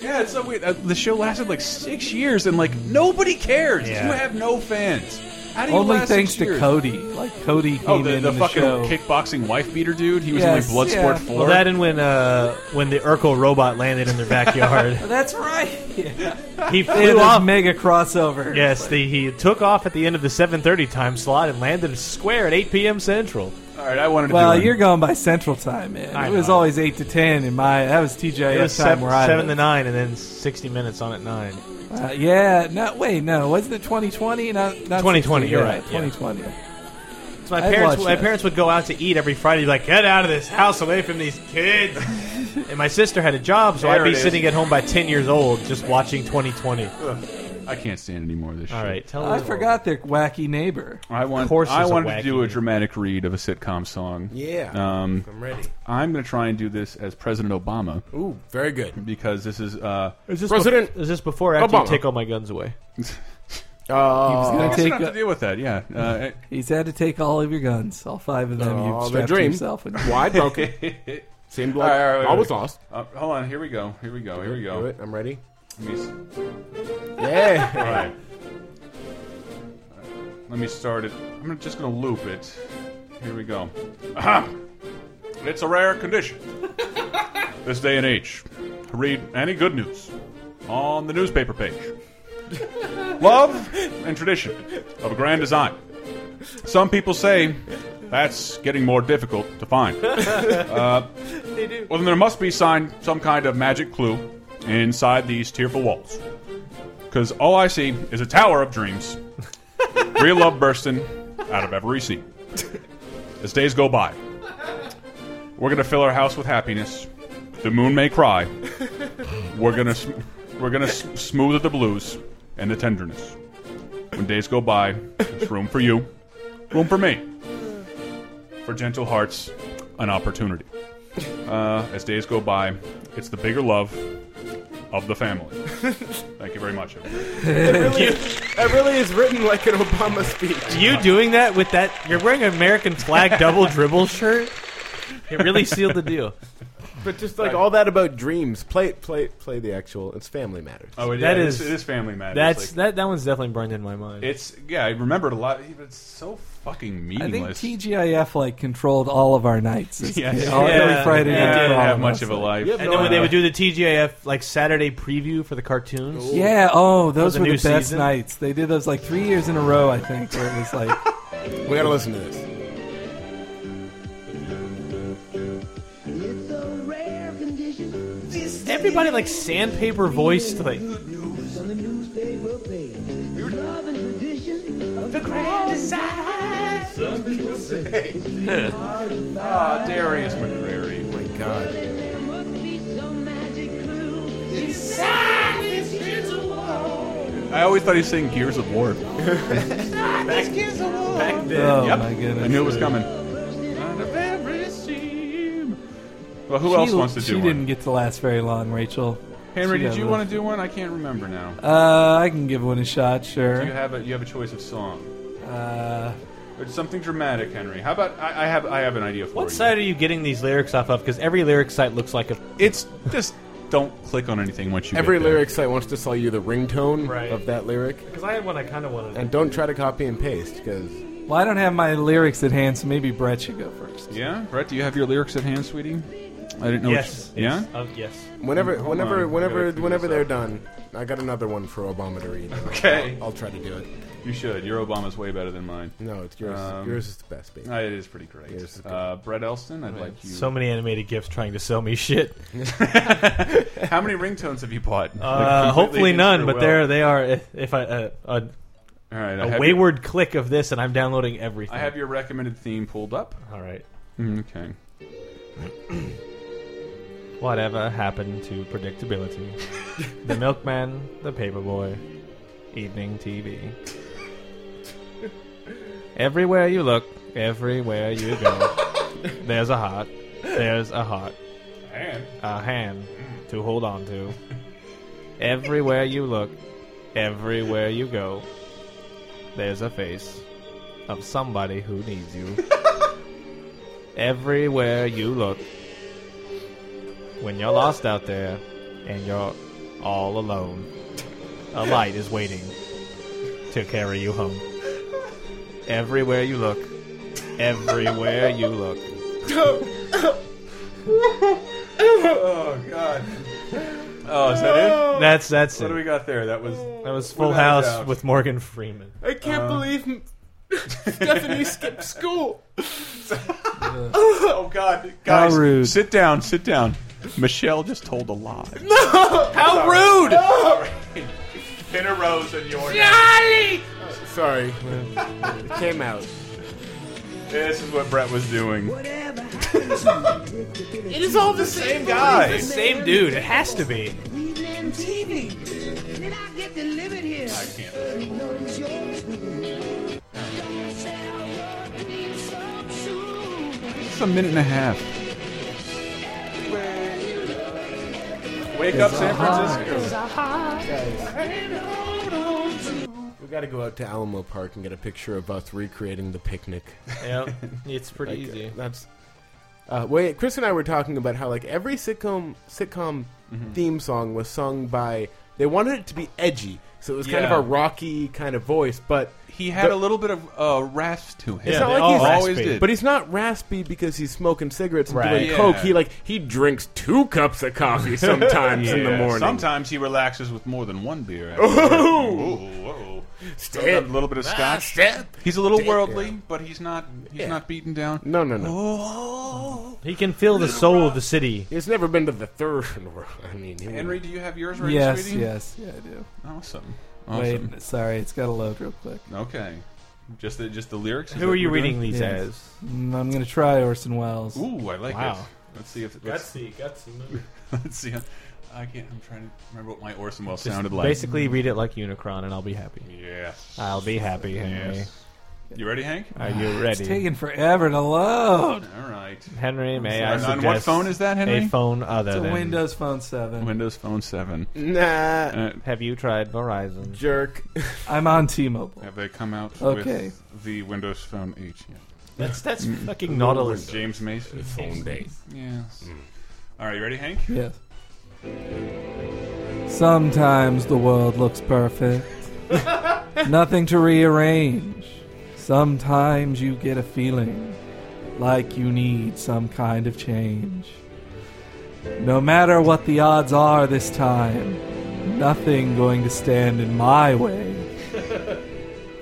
Yeah, it's so weird. Uh, the show lasted like six years, and like nobody cares. Yeah. You have no fans. How do you Only last thanks six to years? Cody. Like Cody came Oh, the, in the in fucking show. kickboxing wife beater dude. He was Yes, in like Bloodsport yeah. Four. Well, that and when uh, when the Urkel robot landed in their backyard, That's right. he They had flew this off. mega crossover. Yes, the, he took off at the end of the 7:30 time slot and landed square at 8 p.m. Central. All right, I wanted Well, you're going by Central Time, man. I it was always eight to ten in my. That was TJF It was time seven, where I seven to lived. nine, and then 60 minutes on at nine. Uh, yeah, no, wait, no, wasn't it 2020? Not, not 2020, 60, you're yeah, right, yeah. 2020. So my I'd parents, watch my that. parents would go out to eat every Friday. Be like, get out of this house, away from these kids. and my sister had a job, so There I'd be it is. sitting at home by 10 years old, just watching 2020. I can't stand any more of this. All shit. right, tell I forgot their wacky neighbor. I want. Of course I it's a wanted to wacky do a dramatic read of a sitcom song. Yeah. Um, I'm ready. I'm going to try and do this as President Obama. Ooh, very good. Because this is. Uh, Is this President bef- is this before or after Obama. you take all my guns away? Uh, He was I gonna guess take I don't have to a- deal with that. Yeah. Uh, He's had to take all of your guns, all five of them. Oh, You've the strapped dream. yourself. And Why? broken. it- Seemed All like right, all right, wait, all wait. was lost. Uh, hold on. Here we go. Here we go. Here we go. Do it. I'm ready. Let me, s- Yeah. all right. Let me start it. I'm just going to loop it. Here we go. Aha! It's a rare condition. this day and age. To read any good news on the newspaper page. Love and tradition of a grand design. Some people say That's getting more difficult to find. Uh, They do. Well, then there must be signed some kind of magic clue inside these tearful walls. Because all I see is a tower of dreams, real love bursting out of every seam. As days go by, we're gonna fill our house with happiness. The moon may cry. We're gonna sm- we're gonna s- smooth the blues and the tenderness. When days go by, there's room for you, room for me, for gentle hearts, an opportunity. Uh, as days go by, it's the bigger love of the family. Thank you very much. everybody. Really, that really is written like an Obama speech. You doing that with that? You're wearing an American flag double dribble shirt. It really sealed the deal. But just like all that about dreams, play play play the actual. It's Family Matters. Oh, it, That yeah, is- it is, it is family matters. That's Like, that. That one's definitely burned in my mind. it's yeah. I remembered a lot. It's so fucking I think meaningless. TGIF like controlled all of our nights. Yes. All- Yeah. Every Friday Yeah, night. I for didn't all have of much us. of a life. You have and no then when they idea. would do the TGIF like Saturday preview for the cartoons. Yeah. Oh, those For were the new best season. nights. They did those like three years in a row, I think, where it was like. we gotta listen to this. Everybody like sandpaper voiced like The grand design. Some people say. Ah, Darius McCrary. Oh my God. Inside this here's a wall. I always thought he was saying Gears of War. Inside this here's a wall. Oh Yep. my goodness! I knew it was coming. Of every seam. Well, who She- else wants to she do didn't one? get to last very long, Rachel. Henry, She did got you a- want to do one? I can't remember now. Uh, I can give one a shot, Do you sure. have a you have a choice of song? Uh, Or something dramatic, Henry. How about I, I have I have an idea for What you. site are you getting these lyrics off of? Because every lyric site looks like a. It's just don't click on anything once you Every get there. lyric site wants to sell you the ringtone Right. of that lyric, Because I had one I kind of wanted. and don't try to copy and paste because well, I don't have my lyrics at hand, so maybe Brett should go first. Yeah, Brett, do you have your lyrics at hand, sweetie? I didn't know. yes. Which, yeah. yes, uh, yes. whenever Hold on, I whenever gotta whenever figure whenever this they're out. done, I got another one for Obama to read. Okay. I'll try to do it. You should. Your Obama's way better than mine. No, it's yours. Um, yours is the best, baby. Uh, It is pretty great. Yours is good. uh, Brett Elston, I'd like you. So many animated gifs trying to sell me shit. How many ringtones have you bought? Uh, Like, completely hopefully against none, your but will. there they are. If, if I uh, a, All right, I a have Your, wayward click of this, and I'm downloading everything. I have your recommended theme pulled up. Mm, All right. Okay. Whatever happened to predictability? the milkman, the paperboy, evening TV. Everywhere you look, everywhere you go, there's a heart. There's a heart. And a hand Mm. to hold on to. Everywhere you look, everywhere you go, there's a face of somebody who needs you. everywhere you look, when you're lost out there and you're all alone, a light is waiting to carry you home. Everywhere you look, everywhere you look, oh God. Oh, is that it? that's that's What do we it. got there? That was That was Full Without a House doubt. with Morgan Freeman. I can't Uh, believe Stephanie skipped school. Oh God, guys, rude. sit down, sit down. Michelle just told a lie. How rude! In a rose and your Sorry, it came out. This is what Brett was doing. It is all the same Guy, Same dude. It has to be. it's a minute and a half. Wake up, San Francisco. We gotta go out to Alamo Park and get a picture of us recreating the picnic. Yep. It's pretty Like, easy. uh, That's. Uh, wait, Chris and I were talking about how like every sitcom sitcom Mm-hmm. theme song was sung by. They wanted it to be edgy, so it was kind of Yeah. a rocky kind of voice, but He had a little bit of uh, rasp to him. It's not like he's always did. but he's not raspy because he's smoking cigarettes and Right. doing Yeah. coke. He like he drinks two cups of coffee sometimes in the Yeah, morning. Sometimes he relaxes with more than one beer. after Oh! work. Whoa, whoa. Step. A little bit of Ah, scotch. step. He's a little Step. worldly, but he's not. He's not beaten down. No, no, no. He can feel the soul of the city. He's never been to the third world. I mean, he- Henry, do you have yours ready, Yes, sweetie? yes, yeah, I do. Awesome. Awesome. Wait, sorry, it's got to load real quick. Okay. Just the just the lyrics. Is Who that are what you we're reading doing? these Yeah. as? Mm, I'm gonna try Orson Welles. Ooh, I like it. Wow. Let's see if let's, Gutsy, gutsy movie. let's see. I can't. I'm trying to remember what my Orson Welles Just sounded like. Basically, read it like Unicron, and I'll be happy. Yes. I'll be happy, Henry. Yes. You ready, Hank? Are you It's ready? taking forever to load. All right. Henry, may sorry. I On what suggest phone is that, Henry? A phone other It's a than Windows Phone 7. Windows Phone Seven. Nah, Uh, Have you tried Verizon? jerk. I'm on T-Mobile. have they come out Okay. with the Windows Phone Eight yet? That's that's fucking With Nautilus. James Mason. Phone day. Yes. All right, you ready, Hank? Yes. Sometimes the world looks perfect. Nothing to rearrange. Sometimes you get a feeling like you need some kind of change. No matter what the odds are this time, nothing going to stand in my way.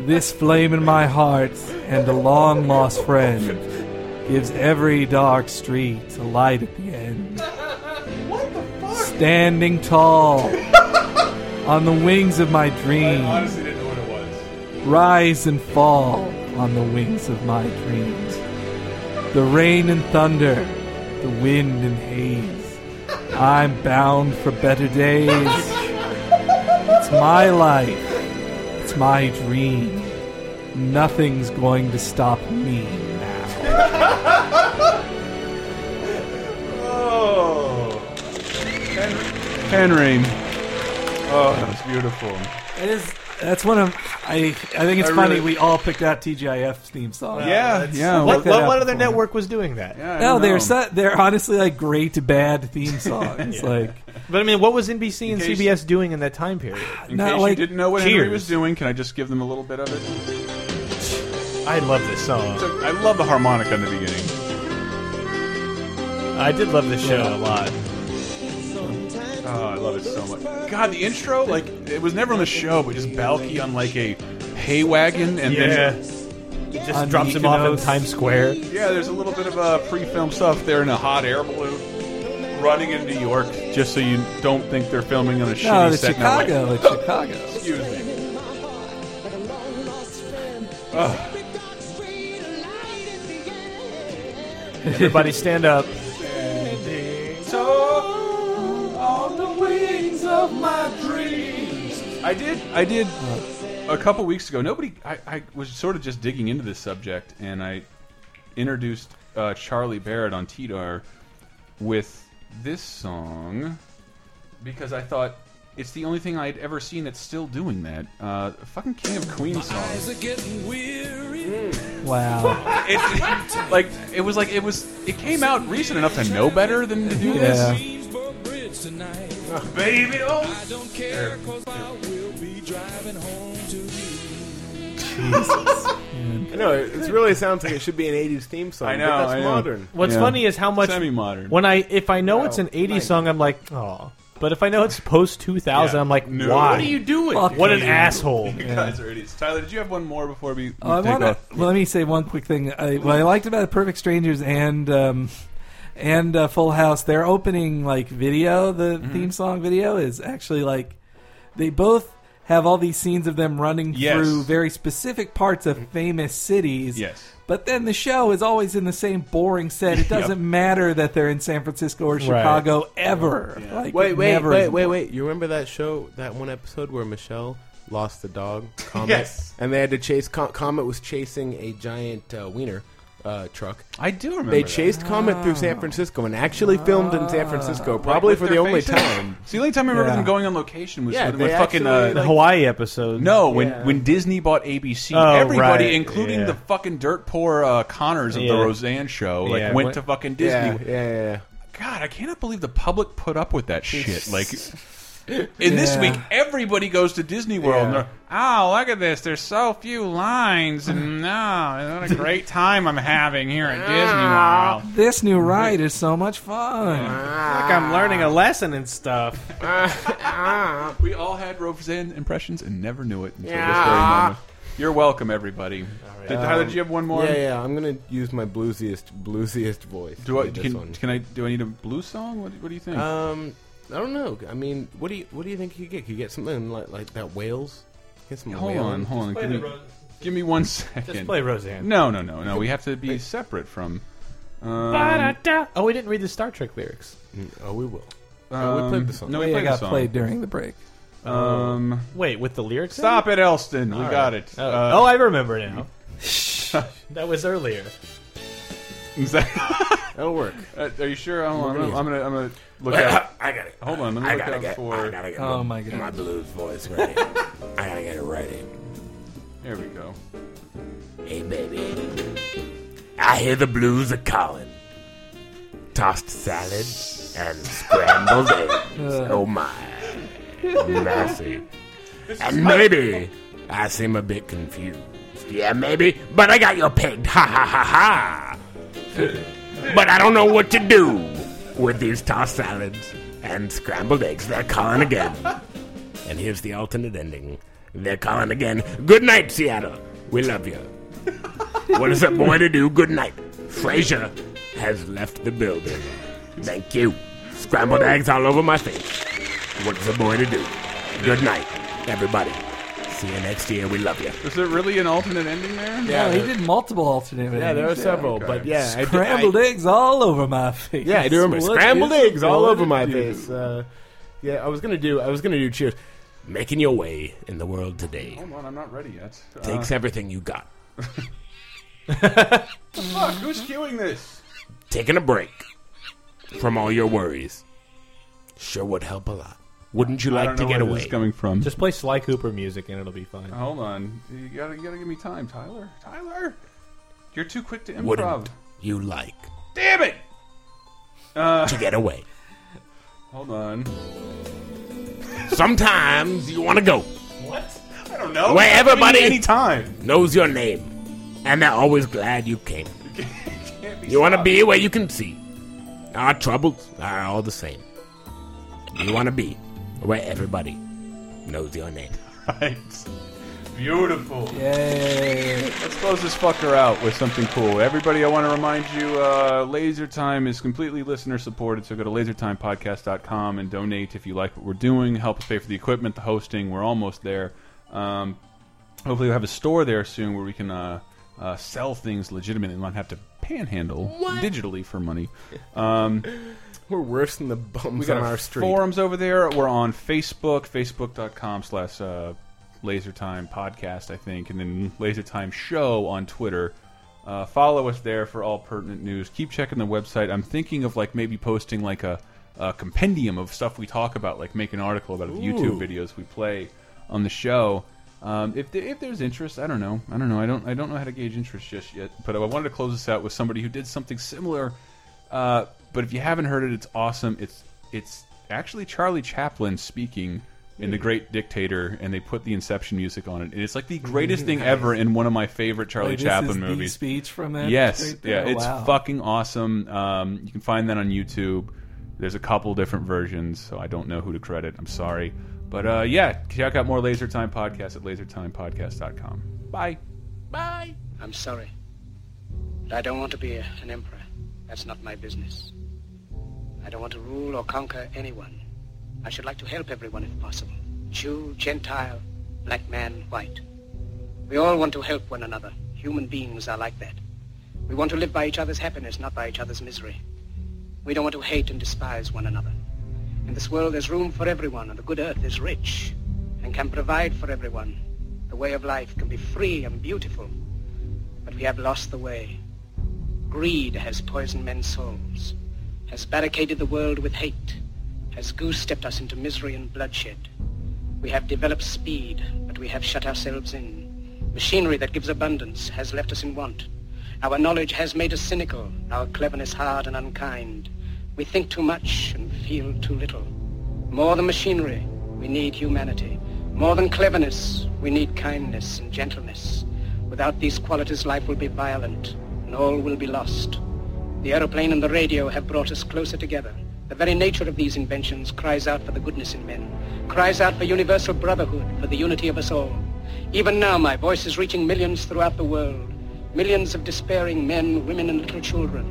This flame in my heart and a long lost friend gives every dark street a light at the end standing tall on the wings of my dreams, Honestly, didn't know what it was. rise and fall on the wings of my dreams. The rain and thunder, the wind and haze. I'm bound for better days. It's my life. It's my dream. Nothing's going to stop me now. Oh. Henry. Oh, that was beautiful. It is. That's one of. I. I think it's I funny. really- We all picked out TGIF theme song. yeah, yeah. Like What, that what, out what other before. network was doing that? yeah I No, don't know. they're so, they're honestly like great to bad theme songs. Like But I mean, what was NBC and case- CBS doing in that time period? In not case like- you didn't know what Henry Cheers. was doing, can I just give them a little bit of it? I love this song. I love the harmonica in the beginning. I did love this show a lot. Oh, I love it so much. God, the intro, like, it was never on the show, but just Balky on, like, a hay wagon, and Yeah. then. It On just drops him off in Mykonos. Times Square. Yeah, there's a little bit of uh, pre film stuff there in a hot air balloon running in New York, just so you don't think they're filming on a no, shitty it's set. in LA. Chicago. It's Chicago. Excuse me. Everybody stand up. I did, I did a couple weeks ago. Nobody, I, I was sort of just digging into this subject, and I introduced uh, Charlie Barrett on TDAR with this song because I thought it's the only thing I'd ever seen that's still doing that. Uh, fucking King of Queens song. Wow. It, like it was like it was it came out recent enough to know better than to do Yeah. this. Baby, oh. No, it really sounds like it should be an '80s theme song. I know, but that's I know. modern. What's Yeah. funny is how much Semi-modern. When I if I know it's an Wow. '80s song, I'm like, oh. But if I know it's post 2000, I'm like, why? What are you doing? Fuck What an you. asshole! You guys are idiots. Tyler, did you have one more before we, we Oh, I take wanna, off? well, let me say one quick thing. I, what I liked about Perfect Strangers and um, and uh, Full House, their opening like video, the Mm-hmm. theme song video, is actually like they both have all these scenes of them running Yes. through very specific parts of famous cities. Yes. But then the show is always in the same boring set. It doesn't matter that they're in San Francisco or Chicago ever. Like, Wait, it wait, never wait, is- wait, wait. You remember that show, that one episode where Michelle lost the dog, Comet? Yes. And they had to chase, Com- Comet was chasing a giant uh, wiener uh, truck. I do remember. They that. chased Comet through San Francisco and actually filmed in San Francisco, Like, probably with for Oh. their the only faces? time. It's the only time I remember Yeah. them going on location was Yeah, when, when they fucking actually, uh, The like- Hawaii episode. no, when Yeah. when Disney bought ABC, Oh, everybody, right, including yeah. the fucking dirt poor uh, Connors of Yeah. the Roseanne show, like Yeah, went when- to fucking Yeah, Disney. yeah, yeah. God, I cannot believe the public put up with that shit. Like, And this Yeah. week, everybody goes to Disney World. And they're, oh, look at this. There's so few lines. And no, what a great time I'm having here at Disney World. This new ride is so much fun. Like I'm learning a lesson and stuff. we all had Roseanne impressions and never knew it until this very Yeah. moment. You're welcome, everybody. Did, Tyler, do you have one more? Yeah, yeah. I'm gonna use my bluesiest, bluesiest voice. Do I for this can, one. can I do I need a blues song? What, what do you think? Um, I don't know. I mean, what do you what do you think you get? Could you get something like like that whales? Get some hold whales? on, hold on. Give me, give me one second. play Roseanne. No, no, no, no. We have to be separate from. Um, Ba-da-da. oh, we didn't read the Star Trek lyrics. Mm, Oh, we will. Oh, um, No, Yeah, we it played the got song. played during the break. Um, Wait, with the lyrics? in Stop it, Elston. All we right. got it. Oh, Uh, oh, I remember now. that was earlier. Is that- Oh. That'll work. Uh, are you sure? Hold on, We're I'm, gonna I'm gonna, I'm gonna look out. Hold on, let me look out for. my blues voice right. I gotta get it right in. There we go. Hey baby, I hear the blues are calling. Tossed salad and scrambled eggs. Oh my, mercy. And maybe I seem a bit confused. Yeah, maybe, but I got you pegged. Ha ha ha ha. But I don't know what to do with these tossed salads and scrambled eggs. They're calling again. And here's the alternate ending. They're calling again. Good night, Seattle. We love you. What is a boy to do? Good night. Frasier has left the building. Thank you. Scrambled eggs all over my face. What is a boy to do? Good night, everybody. See you next year. We love you. Is there really an alternate ending there? Yeah, Oh, he did multiple alternate. Yeah, there were endings. several, but yeah, I did- scrambled I- eggs all over my face. Yeah, I do remember What scrambled is- eggs all what over is my it? face. Uh, yeah, I was gonna do. I was gonna do. Cheers. Making your way in the world today Hold on, I'm not ready yet. Uh, takes everything you got. the fuck? Who's queuing this? Taking a break from all your worries sure would help a lot. Wouldn't you I like don't to know get where away? this is coming from. Just play Sly Cooper music and it'll be fine. Hold on. You gotta, you gotta give me time, Tyler. Tyler, you're too quick to improv. Wouldn't you like Damn it! Uh, to get away? Hold on. Sometimes you want to go What? I don't know. where everybody anytime knows your name, and they're always glad you came. You want to be where you can see. Our troubles are all the same. You want to be where everybody knows your name. Right. Beautiful. Yay. Let's close this fucker out with something cool. Everybody, I want to remind you, uh, Laser Time is completely listener supported, so go to lasertimepodcast.com and donate if you like what we're doing. Help us pay for the equipment, the hosting. We're almost there. Um, hopefully, we'll have a store there soon where we can uh, uh, sell things legitimate and not have to panhandle digitally for money. Um, We're worse than the bums we got on our our street. forums over there. We're on Facebook, facebook.com slash uh, lasertime podcast, I think, and then lasertime show on Twitter. Uh, follow us there for all pertinent news. Keep checking the website. I'm thinking of like maybe posting like a, a compendium of stuff we talk about, like make an article about the YouTube Ooh. videos we play on the show. Um, if, there, if there's interest, I don't know. I don't know. I don't. I don't know how to gauge interest just yet. But I wanted to close this out with somebody who did something similar. Uh, but if you haven't heard it, it's awesome. It's it's actually Charlie Chaplin speaking in Hmm. The Great Dictator, and they put the Inception music on it, and it's like the greatest thing Nice. ever in one of my favorite Charlie Wait, this Chaplin is the movies. speech from that Yes, right yeah, there? it's Wow. fucking awesome. Um, you can find that on YouTube. There's a couple different versions, so I don't know who to credit. I'm sorry, but uh, yeah, check out more Laser Time Podcast at lasertimepodcast.com. Bye. Bye. I'm sorry. But I don't want to be a- an emperor. That's not my business. I don't want to rule or conquer anyone. I should like to help everyone if possible. Jew, Gentile, black man, white. We all want to help one another. Human beings are like that. We want to live by each other's happiness, not by each other's misery. We don't want to hate and despise one another. In this world, there's room for everyone, and the good earth is rich and can provide for everyone. The way of life can be free and beautiful, but we have lost the way. Greed has poisoned men's souls, has barricaded the world with hate, has goose-stepped us into misery and bloodshed. We have developed speed, but we have shut ourselves in. Machinery that gives abundance has left us in want. Our knowledge has made us cynical, our cleverness hard and unkind. We think too much and feel too little. More than machinery, We need humanity. More than cleverness, we need kindness and gentleness. Without these qualities, life will be violent, and all will be lost. The aeroplane and the radio have brought us closer together. The very nature of these inventions cries out for the goodness in men, cries out for universal brotherhood, for the unity of us all. Even now, my voice is reaching millions throughout the world, millions of despairing men, women, and little children,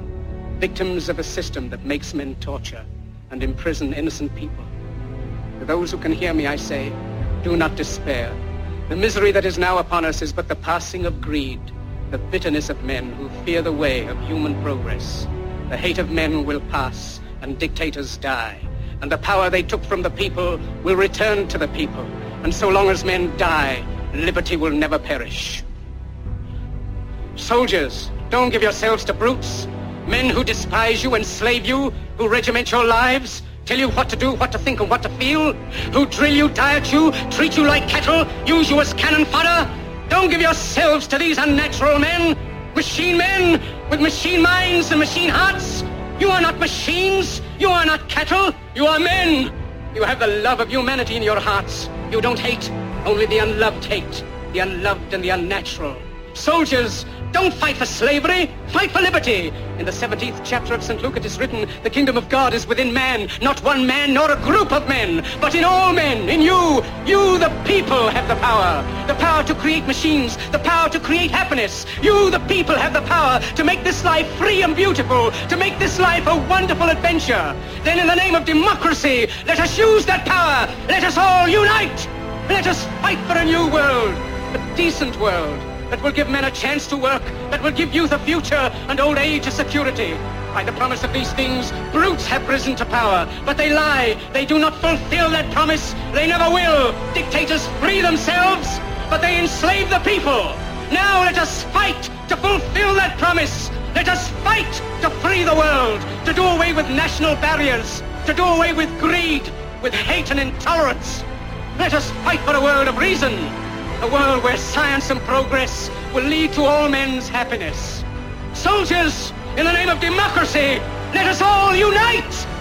victims of a system that makes men torture and imprison innocent people. To those who can hear me, I say, do not despair. The misery that is now upon us is but the passing of greed, the bitterness of men who fear the way of human progress. The hate of men will pass, and dictators die. And the power they took from the people will return to the people. And so long as men die, liberty will never perish. Soldiers, don't give yourselves to brutes. Men who despise you, enslave you, who regiment your lives, tell you what to do, what to think, and what to feel, who drill you, diet you, treat you like cattle, use you as cannon fodder. Don't give yourselves to these unnatural men, machine men with machine minds and machine hearts. You are not machines. You are not cattle. You are men. You have the love of humanity in your hearts. You don't hate. Only the unloved hate. The unloved and the unnatural. Soldiers, don't fight for slavery. Fight for liberty. In the 17th chapter of St. Luke it is written, the kingdom of God is within man. Not one man nor a group of men, but in all men, in you. You, the people, have the power. The power to create machines. The power to create happiness. You, the people, have the power to make this life free and beautiful. To make this life a wonderful adventure. Then in the name of democracy, let us use that power. Let us all unite. Let us fight for a new world. A decent world that will give men a chance to work, that will give youth a future and old age a security. By the promise of these things, brutes have risen to power, but they lie. They do not fulfill that promise. They never will. Dictators free themselves, but they enslave the people. Now let us fight to fulfill that promise. Let us fight to free the world, to do away with national barriers, to do away with greed, with hate and intolerance. Let us fight for a world of reason, a world where science and progress will lead to all men's happiness. Soldiers, in the name of democracy, let us all unite!